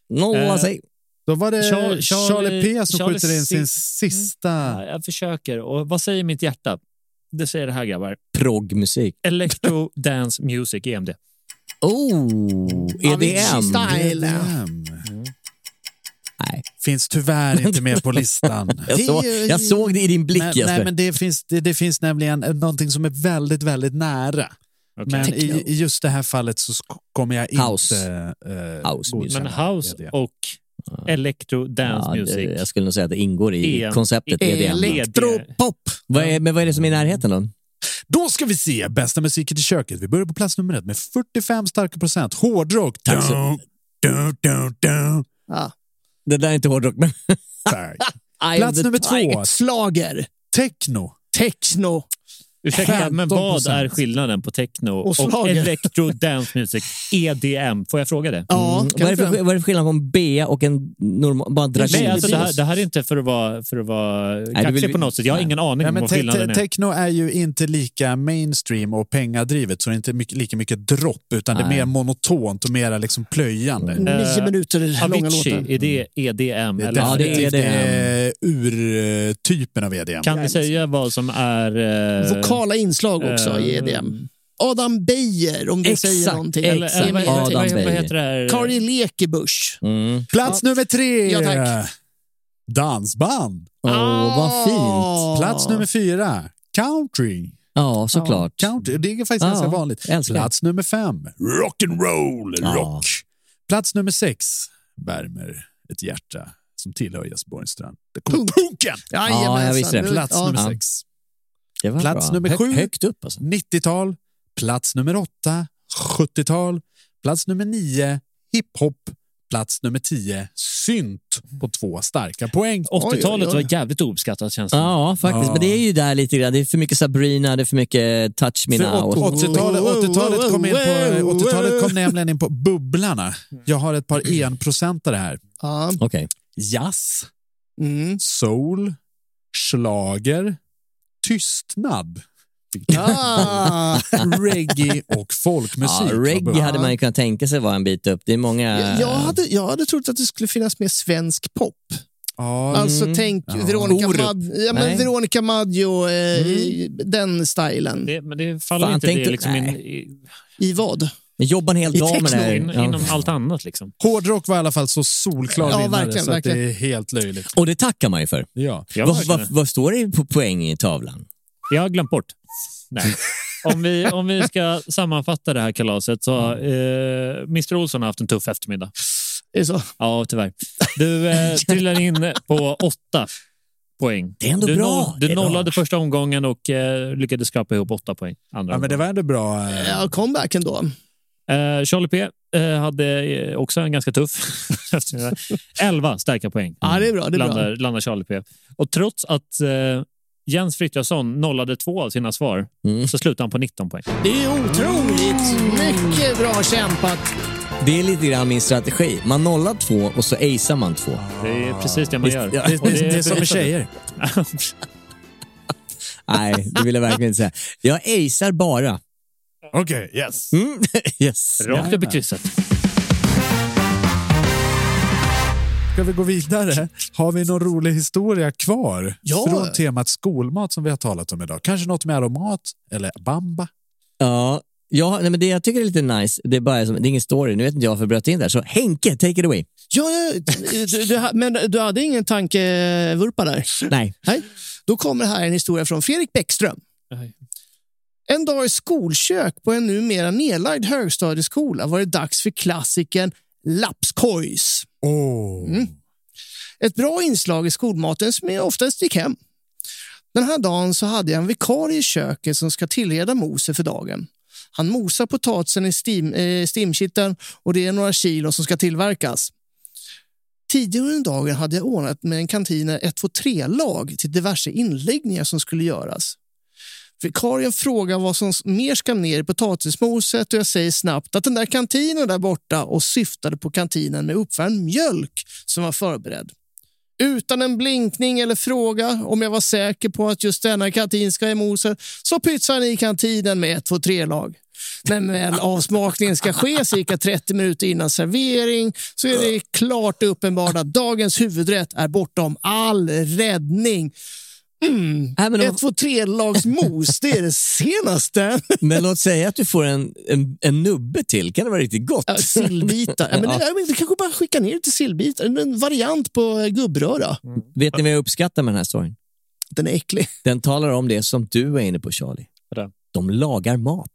S6: Nolla
S4: Eh,
S6: sig.
S3: Då var det
S4: Char-
S3: Charlie,
S4: Charlie-
S3: P som
S4: Charlie
S3: skjuter in sin
S4: Sis-
S3: sista.
S4: Ja, jag försöker. Och vad säger mitt hjärta? Det säger det här, grabbar.
S6: Proggmusik.
S4: Electro Dance Music, E EMD.
S6: Oh, EDM.
S3: Nej. Finns tyvärr inte med på listan.
S6: *laughs* Jag såg- jag såg det i din blick,
S3: nej,
S6: Jesper.
S3: nej, men det finns, det, det finns nämligen någonting som är väldigt, väldigt nära.
S4: Okej.
S3: Men
S4: Techno.
S3: i, i just det här fallet så sk- kommer jag inte
S4: House.
S3: eh, godkänna
S4: Men house
S3: det.
S4: och electro dance
S6: Ja, det-
S4: music. E
S6: jag skulle nog säga att det ingår i
S4: EM.
S6: konceptet EDM.
S4: E
S3: Elektropop.
S6: Vad är, men vad är det som är i närheten då?
S3: Då ska vi se bästa musiken i köket. Vi börjar på plats nummer ett med 45 starka procent. Hårdrock. Dun, dun, dun, dun.
S6: Det där är inte hårdrock, men...
S3: Sorry. Plats nummer två.
S5: Slager.
S3: Techno.
S5: Techno.
S4: Ursäkta, men vad
S5: 15%.
S4: är skillnaden på techno och,
S5: Och slager.
S4: electro dance music, EDM? Får jag fråga det?
S6: Mm. Vad är det för- vad är det för skillnad på en B och en normal... Bara
S4: Nej,
S6: dragon?
S4: alltså, det, här, det här är inte för att vara, för att vara
S6: det
S4: kaxig
S6: vill-
S4: på något sätt. Jag har ingen aning
S3: Ja,
S4: om
S3: men
S4: vad
S3: te-
S4: skillnaden
S3: te-
S4: är.
S3: techno är ju inte lika mainstream och pengadrivet, så det är inte mycket, lika mycket dropp, utan det
S4: Nej.
S3: är mer monotont och mer liksom plöjande.
S4: Eh, Avicii,
S3: låtar.
S4: Är det EDM?
S3: Det är
S4: eller?
S3: definitivt eh, urtypen av E EDM.
S4: Kan ni säga vad som är... eh,
S5: Vokala inslag också
S4: eh,
S5: i EDM. Adam Beijer, om det
S4: Exakt,
S5: säger någonting.
S4: eller- eller vad- vad- vad- vad heter det här?
S5: Kari Lekebusch.
S6: Mm.
S3: Plats nummer tre.
S5: Ja, tack.
S3: Dansband.
S6: Åh, vad
S5: fint.
S3: Plats nummer fyra. Country.
S6: Ja, såklart.
S3: country. Det är faktiskt
S6: Ja,
S3: ganska vanligt.
S6: älskar.
S3: Plats nummer fem. Rock'n'roll.
S6: Ja.
S3: Rock. Plats nummer sex. Värmer ett hjärta som tillhör Jesper Borgenstrand. Det kommer punken.
S6: Ja, jag visste det.
S3: Plats
S6: Ja.
S3: nummer
S6: Ja.
S3: sex.
S6: Det var
S3: Plats
S6: bra.
S3: nummer
S6: Hö-
S3: sju.
S6: Högt upp alltså.
S3: 90-tal. Plats nummer åtta. 70-tal. Plats nummer nio. Hiphop. Plats nummer tio. Synt på två starka poäng.
S4: 80-talet
S3: Oj, oj,
S4: var
S3: oj.
S4: jävligt ouppskattat känns det
S6: Ja, faktiskt.
S3: Ja.
S6: Men det är ju där lite grann. Det är för mycket Sabrina, det är för mycket Touch Me
S3: För
S6: Now. och-
S3: 80-talet 80-talet kom, in på,
S5: Wow,
S3: 80-talet
S5: wow.
S3: kom nämligen in på bubblarna. Jag har ett par enprocentare här.
S5: Ja.
S6: Okej.
S3: Jazz,
S5: Mm.
S3: soul, schlager, tystnad,
S5: Ah.
S3: *laughs* reggae och folkmusik.
S6: Ja, reggae hade man ju kunnat tänka sig var en bit upp. Det är många...
S5: Jag- Jag hade, jag hade trott att det skulle finnas mer svensk pop.
S3: Ja,
S5: Alltså
S3: mm.
S5: tänk
S3: Ja.
S5: Veronica,
S3: Orup.
S5: Mad- ja,
S6: Nej.
S5: men Veronica Maggio, eh, i
S3: Mm.
S5: den stilen.
S4: Det, men det faller
S6: Fan,
S4: inte
S6: tänk
S4: det
S6: dig-
S4: liksom in,
S6: nej.
S4: i,
S5: I vad?
S6: Men jobbar en hel
S5: I
S6: dag med det
S5: techno,
S6: här.
S4: in,
S6: Ja.
S4: inom allt annat. Liksom.
S3: Hårdrock var i alla fall så solklar
S5: Ja,
S3: vinnare
S5: verkligen,
S3: så att det är
S5: verkligen.
S3: helt löjligt.
S6: Och det tackar man ju för.
S3: Ja.
S4: Jag,
S6: Vad
S4: verkligen.
S6: vad- vad står det på poäng i tavlan?
S4: jag har glömt bort. Nej. Om, vi, om vi ska sammanfatta det här kalaset så har eh, Mr Olsson har haft en tuff eftermiddag.
S5: Är det så?
S4: Ja, tyvärr. Du
S6: *laughs*
S4: eh, trillar in på åtta poäng.
S6: Det är ändå
S4: du
S6: bra. Det
S4: du
S6: är bra.
S4: nollade första omgången och eh, lyckades skrapa ihop åtta poäng. Andra
S3: Ja, men det var ändå bra. eh,
S5: Ja, comeback ändå.
S4: omgången. eh, Charlie P eh, hade eh, också en ganska tuff *laughs* eftermiddag. Elva starka poäng.
S5: Ja, det är bra. Det är bra.
S4: landar, landar Charlie P. Och trots att eh, Jens Frithiofsson nollade två av sina svar
S6: Mm.
S4: så slutade han på 19 poäng.
S5: Det är otroligt. Mycket bra kämpat.
S6: Det är lite grann min strategi. Man nollar två och så acear man två.
S4: Det är precis det man
S6: Visst,
S4: gör.
S6: ja.
S4: Och
S3: Det, det, det är som
S4: bevisar
S3: med tjejer.
S6: Nej, det vill jag verkligen inte säga. Jag acear bara.
S3: Okej, yes.
S6: Mm. *laughs* Yes.
S4: Rakt upp i krysset.
S3: Ska vi gå vidare? Har vi någon rolig historia kvar
S5: Ja.
S3: från temat skolmat som vi har talat om idag? Kanske något med aromat eller bamba?
S6: Ja, ja nej, men det jag tycker är lite nice, det är, bara, som- det är ingen story, nu vet inte jag varför jag bröt in där. Så Henke, take it away.
S5: Ja, ja, du, du, men du hade ingen tankevurpa där?
S6: Nej.
S5: Nej. Då kommer här en historia från Fredrik Bäckström. En dag i skolkök på en numera nedlagd högstadieskola var det dags för klassikern lapskojs.
S3: Åh,
S5: Mm. Ett bra inslag i skolmaten som jag oftast gick hem. Den här dagen så hade jag en vikarie i köket som ska tillreda moset för dagen. Han mosar potatisen i steam, eh, steamkitteln och det är några kilo som ska tillverkas. Tidigare under dagen hade jag ordnat med en kantina 1-2-3-lag till diverse inläggningar som skulle göras. Vikarien frågar vad som mer ska ner i potatismoset och jag säger snabbt att den där kantinen där borta och syftade på kantinen med uppvärmd mjölk som var förberedd. Utan en blinkning eller fråga om jag var säker på att just denna katin ska i moset så pytsar ni kantinen med ett, två, tre lag. När väl avsmakningen ska ske cirka 30 minuter innan servering så är det klart uppenbart att dagens huvudrätt är bortom all räddning. Mm.
S6: men om-
S5: Ett, två, tre lags mos, det är det senaste.
S6: Men låt säga att du får en, en, en nubbe till. Kan det vara riktigt gott? Ja,
S5: sillbitar. Ja, men det, jag menar, vi kanske bara skickar ner till sillbitar. En variant på eh, gubbröra.
S6: *laughs* Vet ni vad jag uppskattar med den här storyn?
S5: Den är äcklig.
S6: Den talar om det som du är inne på, Charlie. De lagar mat.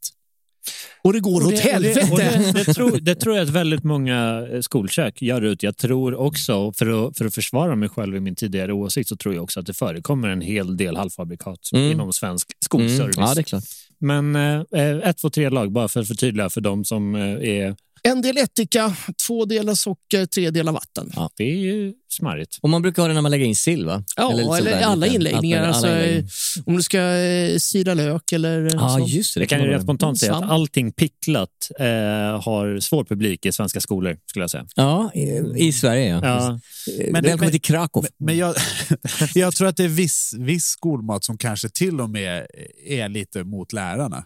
S5: Och det går
S4: Och det- och det- och Det, det, tror, det tror jag att väldigt många eh, skolkök gör ut. Jag tror också, för att, för att försvara mig själv i min tidigare åsikt, så tror jag också att det förekommer en hel del halvfabrikat
S6: Mm.
S4: inom svensk skolservice.
S6: Mm, ja, det är klart.
S4: Men eh, eh, ett, två, tre lag, bara för att förtydliga för de som eh, är...
S5: En del ättika, två delar socker, tre delar vatten.
S4: Ja, det är ju smarrigt.
S6: Och man brukar ha det när man lägger in sill, va?
S5: Ja, eller,
S6: lite sådär lite-
S5: alla inläggningar.
S6: alla
S5: alltså,
S6: inläggningar.
S5: eh, Om du ska eh, sila lök eller eh,
S4: Ja,
S5: sånt.
S4: just det. Jag
S6: Mm.
S4: kan ju rätt spontant säga att
S5: Svamp.
S4: allting picklat eh, har svår publik i svenska skolor, skulle jag säga.
S6: Ja, i, i Sverige. Ja.
S4: Ja.
S6: Eh, Välkommen till Krakow.
S3: Men, men jag, jag tror att det är viss, viss skolmat som kanske till och med är *laughs* lite
S4: *laughs*
S3: mot lärarna.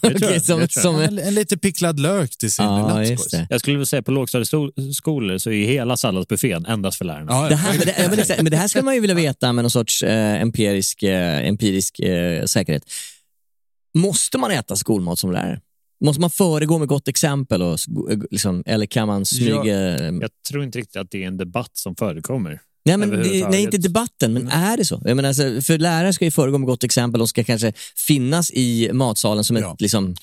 S4: tror jag, Okej, som- det tror jag. som-
S3: en, en lite picklad lök till sin lappskojs.
S4: Jag skulle vilja säga på lågstadieskolor så är ju hela salladsbuffén endast för lärarna.
S6: Det här, det, ja, men,
S3: *laughs*
S6: exakt. men det här skulle man ju vilja veta med någon sorts eh, empirisk, eh, empirisk eh, säkerhet. Måste man äta skolmat som lärare? Måste man föregå med gott exempel? Och, sko- eh, liksom, eller kan man smyga...
S4: Jag tror inte riktigt att det är en debatt som förekommer.
S6: Nej, men det,
S4: överhuvudtaget. Mm.
S6: nej, inte debatten, men är det så? Jag menar, alltså, för lärare ska ju föregå med gott exempel. De ska kanske finnas i matsalen som ett, liksom,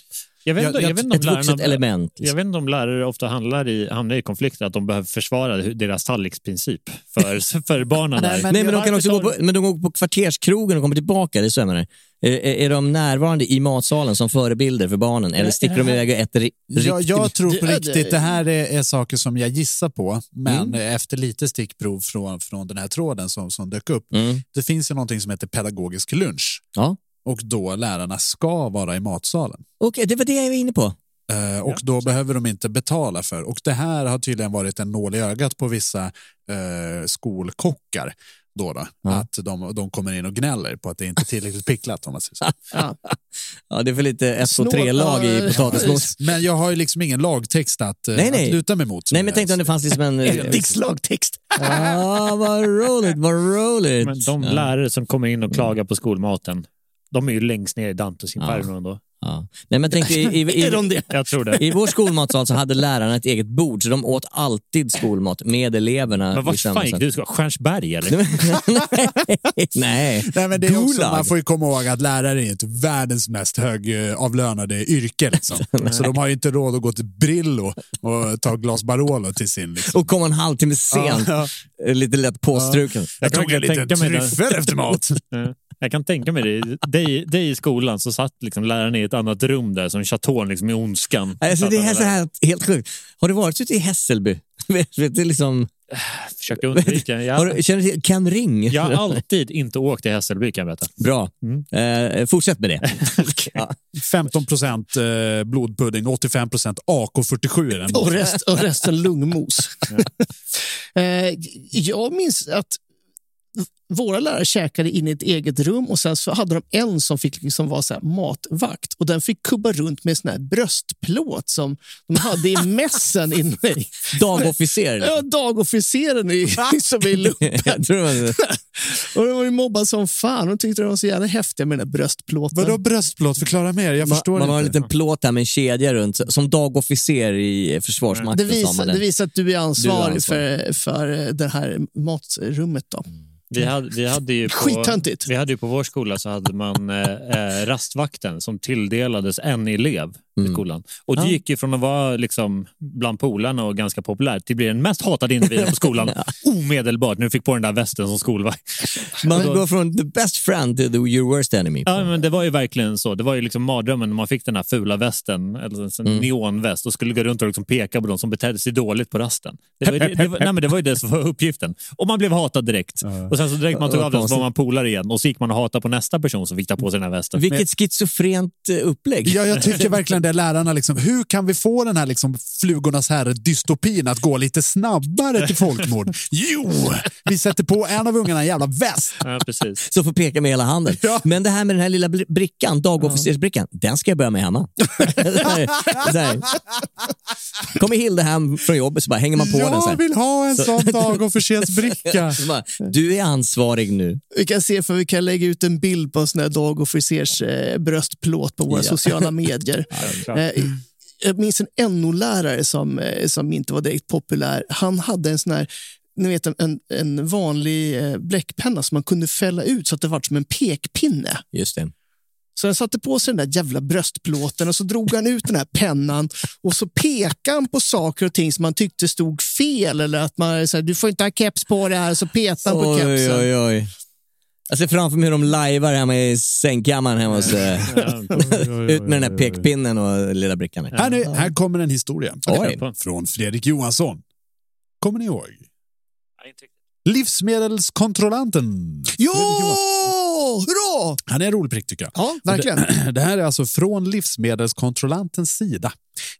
S4: Jag vet, inte- jag, vet inte om
S6: ett vuxet
S4: lärarna,
S6: element. liksom.
S4: Jag vet inte om lärare ofta handlar i, hamnar i konflikter att de behöver försvara hur- deras tallriksprincip
S3: *laughs*
S4: för, för barnen.
S6: Nej,
S4: där.
S6: men, de kan också gå på, men de går på kvarterskrogen och kommer tillbaka, det är så jag menar. Eh, Är, är de närvarande i matsalen som förebilder för barnen eller
S3: Nej,
S6: sticker
S3: det
S6: de
S3: här-
S6: iväg och äter ri- riktigt?
S3: Jag, jag tror på
S6: Ja,
S3: riktigt, det här är, är saker som jag gissar på, men
S4: Mm.
S3: efter lite stickprov från, från den här tråden som, som dök upp. Det finns ju någonting som heter pedagogisk lunch
S6: Mm. Ja.
S3: och då lärarna ska vara i matsalen.
S6: Okej, det var det jag var inne på.
S3: Eh, Och då behöver de inte betala för. Och det här har tydligen varit en nål i ögat på vissa eh, skolkockar. Då då, Att de, de kommer in och gnäller på att det inte är tillräckligt picklat. Om
S6: *laughs*
S3: man säger så.
S5: Ja.
S6: Ja, det är för lite ett och tre lag i potatismos.
S3: Men jag har ju liksom ingen lagtext att, eh,
S6: Nej, nej.
S3: att luta mig mot.
S6: *laughs* Nej, men jag tänkte om det fanns
S4: *laughs*
S6: liksom en...
S5: lagtext.
S6: *laughs* ah, vad roligt, vad roligt.
S4: Men de
S6: Ja.
S4: lärare som kommer in och klagar på skolmaten, de är ju längst ner i Dantes inferno ändå.
S6: Ja. Nej, men jag tänkte, i, *laughs* i, i,
S4: Jag tror det.
S6: I vår skolmatsal så hade lärarna ett eget bord, så de åt alltid skolmat med eleverna.
S4: Men vart
S6: liksom,
S4: fan
S6: så
S4: gick
S6: att-
S4: du?
S3: *laughs*
S4: Stjärnsberg eller?
S6: Nej.
S3: Nej, men det är också,
S6: Gulag.
S3: man får ju komma ihåg att lärare är ju inte världens mest högavlönade yrke. *laughs* Liksom. så de har ju inte råd att gå till Brillo och ta ett glas Barolo till sin. Liksom.
S6: Och komma en halvtimme sent. Eh,
S3: Ja,
S6: Lite lätt påstruken.
S3: Jag tog en
S4: kan
S3: liten
S4: tänka mig det.
S3: tryffel efter *laughs* mat.
S4: Ja. Jag kan tänka mig det. Dig, dig i skolan så satt liksom läraren i ett annat rum där som Chaton liksom i ondskan.
S6: Alltså,
S4: Satt
S6: det är
S4: han
S6: så
S4: där.
S6: här, helt sjukt. Har du varit ute i Hässelby? *laughs* Vet, vet du liksom...
S4: *sighs* Försökte undvika.
S6: *laughs* Har
S4: Jag,
S6: du, känner du till Cam Ring? *laughs*
S4: jag har alltid inte åkt till Hässelby kan jag berätta. Mm.
S6: Bra. Eh, fortsätt
S4: *laughs*
S6: med det. ja.
S3: 15 procent eh, blodpudding, 85 procent AK47 *laughs* är den.
S5: Och, rest, och resten lungmos. *laughs* Eh, jag minns att våra lärare käkade in i ett eget rum och sen så hade de en som fick liksom vara så här matvakt och den fick kubba runt med en sån här bröstplåt som de hade
S6: *laughs*
S5: i mässen inne i
S6: Dagofficer.
S5: Ja, dagofficeren i, som är i lumpen.
S6: *laughs* Jag tror man...
S5: *laughs* Och de var ju mobbade som fan. De tyckte de var så jävla häftiga med den där bröstplåten.
S3: Vadå bröstplåt? Förklara mer, jag
S6: Man,
S3: förstår
S6: man har en
S3: inte.
S6: liten plåt här med en kedja runt, som dagofficer i
S5: Det
S6: Försvarsmakten. sa
S5: visar,
S6: man
S5: det visar att du är ansvarig,
S6: ansvarig. Mm.
S5: För, för det här matrummet. Då.
S4: Vi hade, vi hade ju på,
S5: Skittöntigt.
S4: vi hade ju på vår skola så hade man eh, eh, rastvakten som tilldelades en elev i skolan. Och det
S6: Ja.
S4: gick ju från att vara liksom bland polarna och ganska populärt till att bli den mest hatade individen på skolan omedelbart när du fick på den där västen som skolvakt.
S6: Man
S4: Och då-
S6: går från the best friend till the, your worst enemy.
S4: Ja, men det var ju verkligen så. Det var ju liksom mardrömmen när man fick den här fula västen, eller en
S3: Mm.
S4: sån neonväst, och skulle gå runt och liksom peka på de som betedde sig dåligt på rasten. Det var, ju det, det, var, nej, men det var ju det som var uppgiften. Och man blev hatad direkt. Och sen så direkt man tog
S6: Vad
S4: av den så
S6: konstigt.
S4: var man polare igen och så gick man och hatade på nästa person som fick ta på sig den här västen.
S6: Vilket schizofrent eh, upplägg. *laughs*
S3: Ja, jag tycker verkligen det lärarna, liksom, hur kan vi få den här liksom, flugornas herre-dystopin att gå lite snabbare till folkmord? Jo, Vi sätter på en av ungarna en jävla väst.
S4: Ja, precis.
S6: Så får peka med hela handen. Men det här med den här lilla bl- brickan, dagofficersbrickan, den ska jag börja
S5: *laughs*
S6: med hemma. *laughs* så här. Kommer Hilde hem från jobbet så bara hänger man på
S3: Jag
S6: den. Så här.
S3: vill ha en
S6: Så-
S3: sån dagofficersbricka.
S6: Så bara, du är ansvarig nu.
S5: Vi kan se för vi kan lägga ut en bild på en sån här dag och frisers eh, bröstplåt på våra
S6: Ja. *laughs*
S5: sociala medier.
S6: klart.
S5: Eh, jag minns en NO-lärare som, eh, som inte var direkt populär. Han hade en sån här ni vet, en- en, en vanlig eh, bläckpenna som man kunde fälla ut så att det var som en pekpinne.
S6: Just det.
S5: Så han satte på sig den där jävla bröstplåten och så drog han ut den här pennan och så pekade han på saker och ting som han tyckte stod fel eller att man så här, du får inte ha keps på det här, så petade han på
S6: Oj,
S5: kepsen.
S6: oj, oj. Jag ser framför mig hur de lajvar hemma i sängkammaren hemma hos... eh, *laughs* Ut med den här pekpinnen och lilla brickan.
S3: Här, nu, här kommer en historia
S6: Oj.
S3: från Fredrik Johansson. Kommer ni ihåg? Livsmedelskontrollanten.
S5: Jo! Hurra!
S3: Han är en rolig prick tycker jag.
S5: Ja, verkligen.
S3: Det, *clears throat* det här är alltså från livsmedelskontrollantens sida.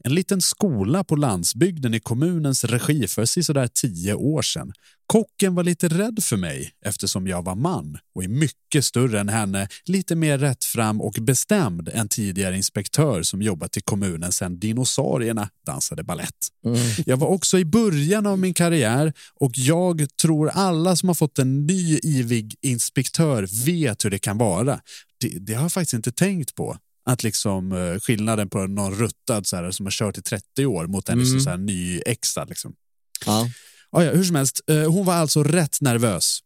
S3: En liten skola på landsbygden i kommunens regi för sådär tio år sedan. Kocken var lite rädd för mig eftersom jag var man och är mycket större än henne, lite mer rättfram och bestämd än tidigare inspektör som jobbat i kommunen sedan dinosaurierna dansade ballett. *laughs* Jag var också i början av min karriär och jag tror alla som har fått en ny ivig inspektör vet hur det kan vara. Det, det har jag faktiskt inte tänkt på. Att liksom eh, skillnaden på någon ruttad så här, som har kört i 30 år mot en liksom,
S6: Mm.
S3: så här, nyexad. Liksom.
S6: Ja.
S3: Ja, ja, hur som helst, eh, hon var alltså rätt nervös.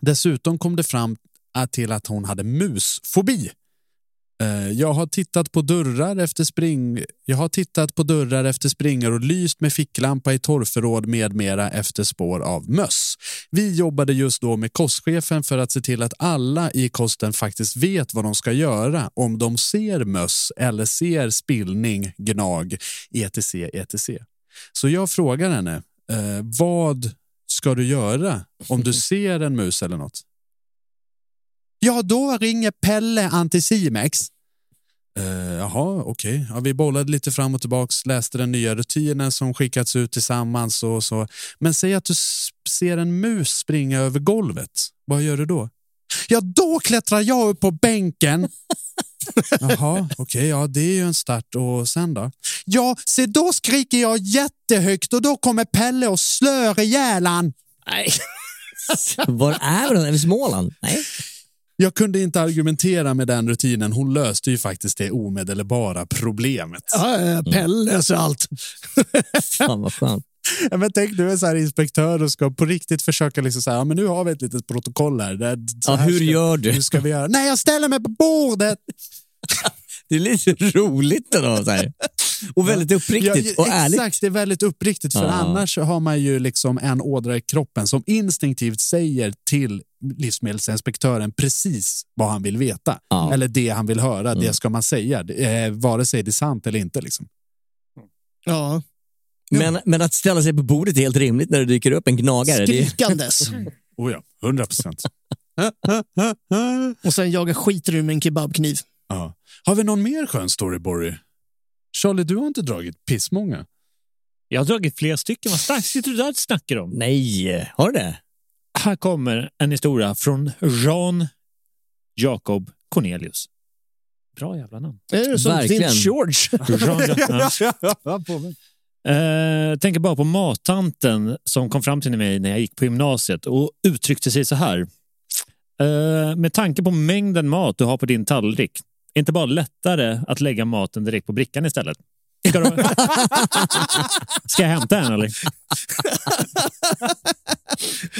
S3: Dessutom kom det fram att- till att hon hade musfobi. Eh, Jag har tittat på dörrar efter spring... Jag har tittat på dörrar efter springor och lyst med ficklampa i torrförråd med mera efter spår av möss. Vi jobbade just då med kostchefen för att se till att alla i kosten faktiskt vet vad de ska göra om de ser möss eller ser spillning, gnag, etc. etc. Så jag frågar henne, eh, vad ska du göra om *laughs* du ser en mus eller något? Ja, då ringer Pelle Anticimex. Uh, jaha, okej. Ja, vi bollade lite fram och tillbaks, läste den nya rutinen som skickats ut tillsammans. Och så. Men säg att du s- ser en mus springa över golvet. Vad gör du då? Ja, då klättrar jag upp på bänken. Jaha, okej, ja det är ju en start. Och sen då? Ja, se då skriker jag jättehögt och då kommer Pelle och slår ihjäl han.
S6: Nej. *laughs* Var är vi? då? Är vi i Småland? Nej.
S3: Jag kunde inte argumentera med den rutinen. Hon löste ju faktiskt det omedelbara problemet.
S5: Ja,
S6: Mm.
S5: Pelle så allt.
S6: Fan vad skönt.
S3: *laughs* Ja, men tänk du är så här inspektör och ska på riktigt försöka liksom så här, ja, men nu har vi ett litet protokoll här. Det, så
S6: Ja,
S3: här
S6: hur
S3: ska,
S6: gör du?
S3: Hur ska vi göra? Nej, jag ställer mig på bordet.
S6: Det är lite roligt ändå. Så här. Och väldigt uppriktigt
S3: Ja,
S6: och ärligt.
S3: Exakt, det är väldigt uppriktigt. För
S6: Ja.
S3: annars har man ju liksom en ådra i kroppen som instinktivt säger till livsmedelsinspektören precis vad han vill veta.
S6: Ja. Mm.
S3: Eller det han vill höra, det ska man säga. Det är, vare sig det är sant eller inte. Liksom.
S5: Ja.
S6: Men, men att ställa sig på bordet är helt rimligt när det dyker upp en gnagare. Det Mm. är,
S5: Skrikandes.
S3: *laughs* Oh ja, 100 procent. *laughs*
S5: Och sen jaga skiter ur med en kebabkniv.
S3: Ja. Har vi någon mer skön story, Borry? Charlie, du har inte dragit pissmånga.
S4: Jag har dragit flera stycken. Vad starkt sitter du där och snackar om?
S6: nej, har du det?
S4: Här kommer en historia från Jan Jakob Cornelius. Bra jävla namn.
S5: Är det som
S6: Verkligen.
S5: Vince George?
S4: *laughs* Jan Jakob. Eh, tänker bara på mattanten som kom fram till mig när jag gick på gymnasiet och uttryckte sig så här. Eh, med tanke på mängden mat du har på din tallrik, är inte bara lättare att lägga maten direkt på brickan istället? Ska, du...
S3: *laughs*
S4: Ska jag hämta en eller?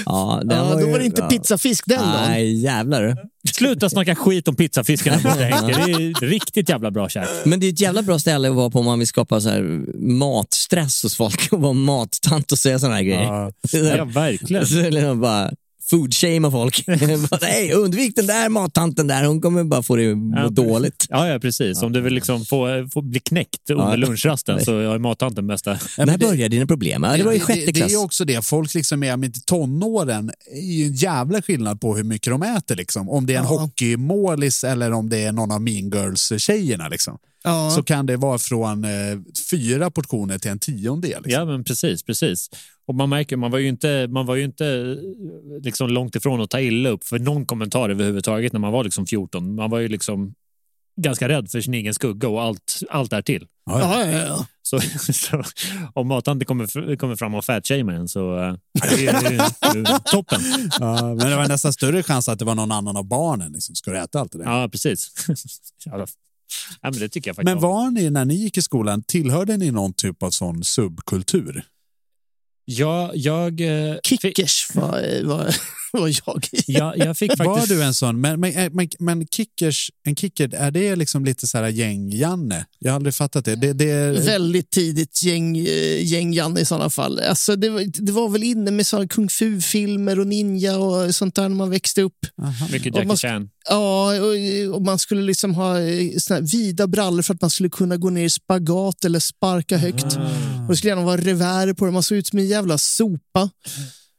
S6: Ja, den
S5: Ja, då
S6: ju-
S5: var det inte
S6: ja.
S5: pizzafisk den dagen.
S6: Nej, jävlar.
S4: Sluta snacka skit om pizzafiskarna borta Henke. Det
S3: *laughs*
S4: är riktigt jävla bra käk.
S6: Men det är ett jävla bra ställe att vara på om man vill skapa så här matstress hos folk och vara mattant och säga sådana här grejer. *laughs*
S3: Ja.
S4: Ja, verkligen.
S6: Så liksom bara
S4: *laughs*
S6: foodshamea folk. *laughs* bara, Nej, undvik den där mattanten där. Hon kommer bara få dig att må
S4: Ja,
S6: dåligt.
S4: Ja, ja precis. Om du vill liksom få, få bli knäckt under
S6: Ja.
S4: lunchrasten så har ju mattanten bästa...
S6: När börjar dina problem? Ja, det var i sjätte
S3: det, det är
S6: klass.
S3: ju också det, folk liksom är men tonåren är ju en jävla skillnad på hur mycket de äter. Liksom. Om det är en
S5: Ja.
S3: hockeymålis eller om det är någon av Mean Girls-tjejerna. Liksom. ja. så kan det vara från eh, fyra portioner till en tiondel. Liksom.
S4: Ja, men precis, precis. Och man märker, man var ju inte, man var ju inte liksom långt ifrån att ta illa upp för någon kommentar överhuvudtaget när man var liksom 14. Man var ju liksom ganska rädd för sin egen skugga och allt, allt där till.
S5: Ja, ja, ja, ja.
S4: Så, *laughs* så om Matan inte kommer, kommer fram och fatshamear en så äh, det är det är toppen.
S3: *laughs* Ja, men det var nästan större chans att det var någon annan av barnen. Liksom. Ska du äta allt det där?
S4: Ja, precis. *laughs* Ja, men det tycker jag faktiskt
S3: men var ni, när ni gick i skolan, tillhörde ni någon typ av sån subkultur?
S4: Ja, jag... Eh,
S5: Kickers var, var, var jag.
S4: ja, jag fick faktiskt...
S3: Var du en sån? Men, men, men, men kickers, en kicker, är det liksom lite så här gäng-Janne? Jag har aldrig fattat det. det, det är...
S5: Väldigt tidigt eh, gäng-Janne gäng i sådana fall. Alltså, det, var, det var väl inne med sådana kung fu-filmer och ninja och sånt där när man växte upp.
S4: Aha. Mycket Jackie Chan.
S5: Ja, och, och, man skulle liksom ha såna vida brallor för att man skulle kunna gå ner i spagat eller sparka högt. Ah. Och det skulle gärna vara revär på det. Man såg ut som en jävla sopa.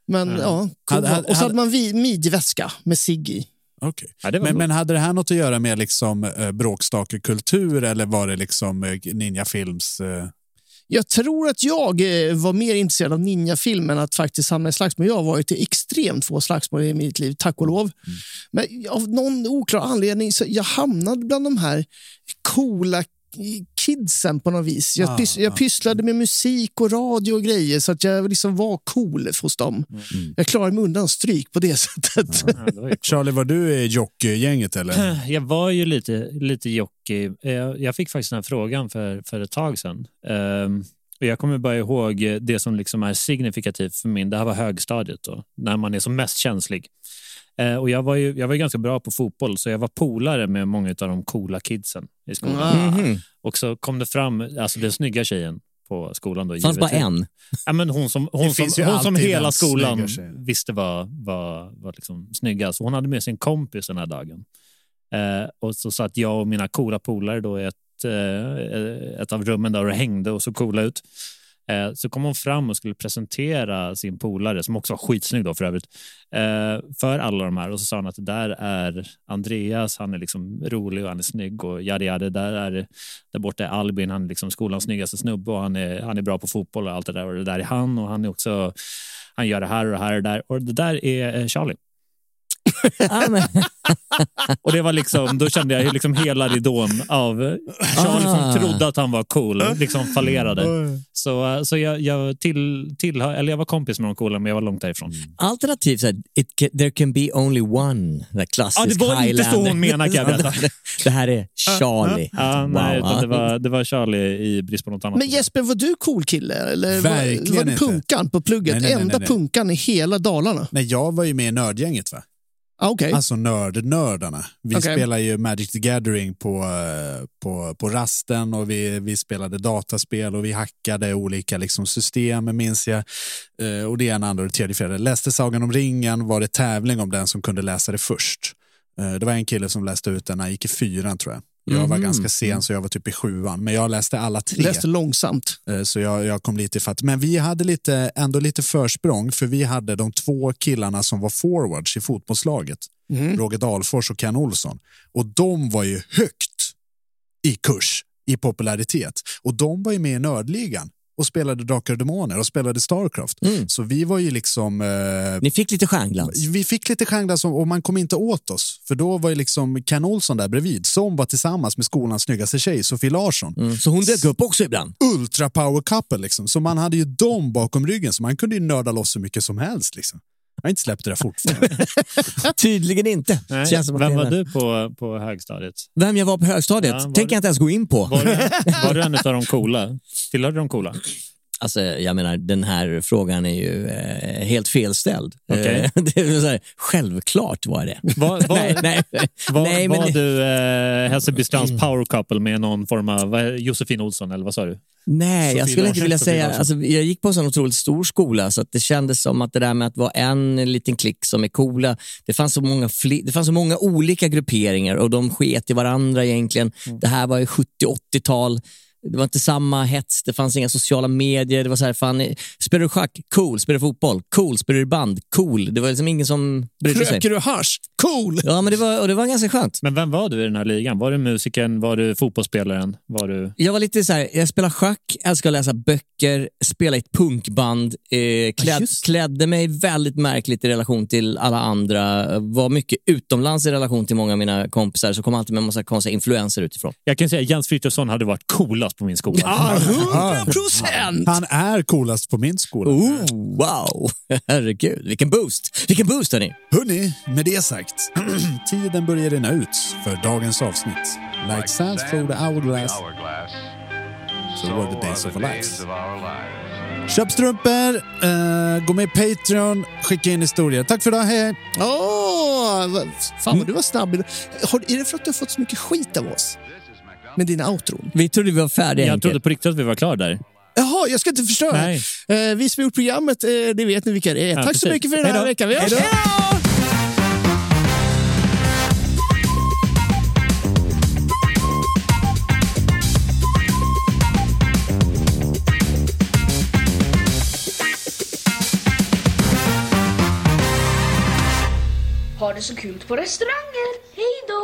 S5: Men mm. ja, cool. hade, och så hade man midjeväska med cigg i.
S3: Okay. Ja, men, bra. men hade det här något att göra med liksom, eh, bråkstakekultur eller var det liksom eh, ninjafilms... Eh...
S5: Jag tror att jag eh, var mer intresserad av ninjafilm än att faktiskt hamna i slagsmål. Jag har varit i extremt få slagsmål i mitt liv, tack och lov. Mm. Men av någon oklar anledning så jag hamnade bland de här coola kidsen på något vis. Jag, ah, pys jag pysslade med musik och radio och grejer så att jag liksom var cool hos dem. Mm. Jag klarade mig undan stryk på det sättet.
S3: Ja,
S5: *laughs*
S3: det var Charlie, var du i jockey-gänget eller?
S4: *clears throat* Jag var ju lite, lite jockey. Eh, Jag fick faktiskt den här frågan för, för ett tag sedan. Um, och jag kommer bara ihåg det som liksom är signifikativt för min, det här var högstadiet då, när man är som mest känslig. Uh, och jag var, ju, jag var ganska bra på fotboll, så jag var polare med många av de coola kidsen i skolan. Mm -hmm. Och så kom det fram, alltså den snygga tjejen på skolan. Då,
S6: fanns bara en?
S4: Ja, men hon som, hon som, hon som hela skolan visste var, var, var liksom snyggast. Hon hade med sin kompis den här dagen. Uh, och så satt jag och mina coola polare då i ett, uh, ett av rummen där och hängde och såg coola ut. Eh, Så kom hon fram och skulle presentera sin polare, som också var skitsnygg då för övrigt, Eh, för alla de här. Och så sa hon att det där är Andreas, han är liksom rolig och han är snygg och yadi yadi. Där, är, där borta är Albin, han är liksom skolans snyggaste snubbe och han är, han är bra på fotboll och allt det där. Och det där är han och han är också, han gör det här och det här och det där. Och det där är eh, Charlie. *laughs* och det var liksom, då kände jag liksom hela ridån av Charlie ah. som trodde att han var cool, *laughs* liksom fallerade. Så, så jag, jag, till, till, eller jag var kompis med de coola, men jag var långt därifrån.
S6: Mm. Alternativt, så här, there can be only one, där klassisk ah,
S4: Det var
S6: Highlander.
S4: inte så hon menade, kan
S6: *laughs*
S4: jag berätta.
S6: det här är Charlie.
S4: Ah, wow. nej, det, var, det var Charlie i brist på något annat.
S5: Men Jesper, var du cool kille? Eller Verkligen var, var du punkan inte. på plugget? Nej, nej, nej, Enda punkan i hela Dalarna?
S3: Nej, jag var ju med i nördgänget. Va?
S5: Ah, okay.
S3: Alltså nördnördarna. Vi okay. spelar ju Magic the Gathering på, eh, på, på rasten och vi, vi spelade dataspel och vi hackade olika liksom, system, minns jag. Eh, och det ena, andra och det tredje, fjärde. Läste Sagan om ringen var det tävling om den som kunde läsa det först. Eh, det var en kille som läste ut den, han gick i fyran tror jag. Jag var mm -hmm. ganska sen, så jag var typ i sjuan. Men jag läste alla tre.
S5: Läste långsamt.
S3: Eh, Så jag, jag kom lite fatt. Men vi hade lite, ändå lite försprång, för vi hade de två killarna som var forwards i fotbollslaget. Mm. Roger Dalfors och Ken Olsson. Och de var ju högt i kurs, i popularitet. Och de var ju med i nördligan och spelade Drakar och Demoner och spelade Starcraft. Mm. Så vi var ju liksom... Eh,
S6: Ni fick lite stjärnglans?
S3: Vi fick lite stjärnglans och, och man kom inte åt oss. För då var ju liksom Ken Olsson där bredvid som var tillsammans med skolans snyggaste tjej, Sofie Larsson.
S6: Mm. Så hon dök upp också ibland?
S3: Ultra power couple liksom. Så man hade ju dem bakom ryggen så man kunde ju nörda loss så mycket som helst. Liksom. Jag har inte släppt det
S6: *laughs*
S3: där fortfarande.
S6: Tydligen inte.
S4: Nej, vem var du på, på högstadiet?
S6: Vem jag var på högstadiet? Ja, tänker jag inte ens gå in på.
S4: Var du,
S6: *laughs*
S4: var du en av de coola? Tillhörde de coola?
S6: Alltså, jag menar, den här frågan är ju eh, helt felställd. Okay. *laughs* det är så här, självklart var det.
S4: Var,
S6: *laughs*
S4: var, nej, nej, var, nej, men... var du eh, Hässelbystrands power couple med någon form av Josefin Olsson, eller vad sa du?
S6: Nej, Sofie jag skulle inte vilja Sofie säga... Larsson. Alltså, jag gick på en sån otroligt stor skola, så att det kändes som att det där med att vara en liten klick som är coola, det fanns så många, det fanns så många olika grupperingar och de sket i varandra egentligen. Mm. Det här var ju 70-80-tal Det var inte samma hets, det fanns inga sociala medier. Det var så här, fan, spelar du schack? Cool. Spelar du fotboll? Cool. Spelar du band? Cool. Det var liksom ingen som brydde sig.
S4: Röker
S5: du hasch? Cool!
S6: Ja, men det var, och det var ganska skönt.
S4: Men vem var du i den här ligan? Var du musikern? Var du fotbollsspelaren? Var du...
S6: Jag var lite så här, jag spelar schack, älskar att läsa böcker, spela i ett punkband, eh, kläd, klädde mig väldigt märkligt i relation till alla andra, var mycket utomlands i relation till många av mina kompisar, så kom alltid med en massa konstiga influenser utifrån.
S4: Jag kan säga att Jens Frithiofsson hade varit coolast på min skola.
S5: Ja, 100%!
S3: Han är coolast på min skola.
S6: Oh, wow! *laughs* Herregud, vilken boost! Vilken boost hörni!
S3: Hörni, med det sagt, *clears throat* tiden börjar rinna ut för dagens avsnitt. Like, sands through the hourglass, so were the days of our lives. Köp strumpor, eh, gå med i Patreon, skicka in historier. Tack för idag, hej, hej! Mm.
S5: Åh, vad- fan vad du var snabb. Har, är det för att du har fått så mycket skit av oss? Med dina outron?
S6: Vi trodde vi var färdiga.
S4: Jag
S6: enkelt.
S4: trodde på riktigt att vi var klara där.
S5: Jaha, jag ska inte förstöra.
S4: Nej.
S5: Eh, vi som har gjort programmet, eh, det vet ni vilka det är.
S4: Ja,
S5: Tack
S4: precis.
S5: så mycket för den här
S4: Hej då.
S5: veckan. Vi hörs!
S4: Hej då.
S9: Ha det så kul på restauranger. Hej då!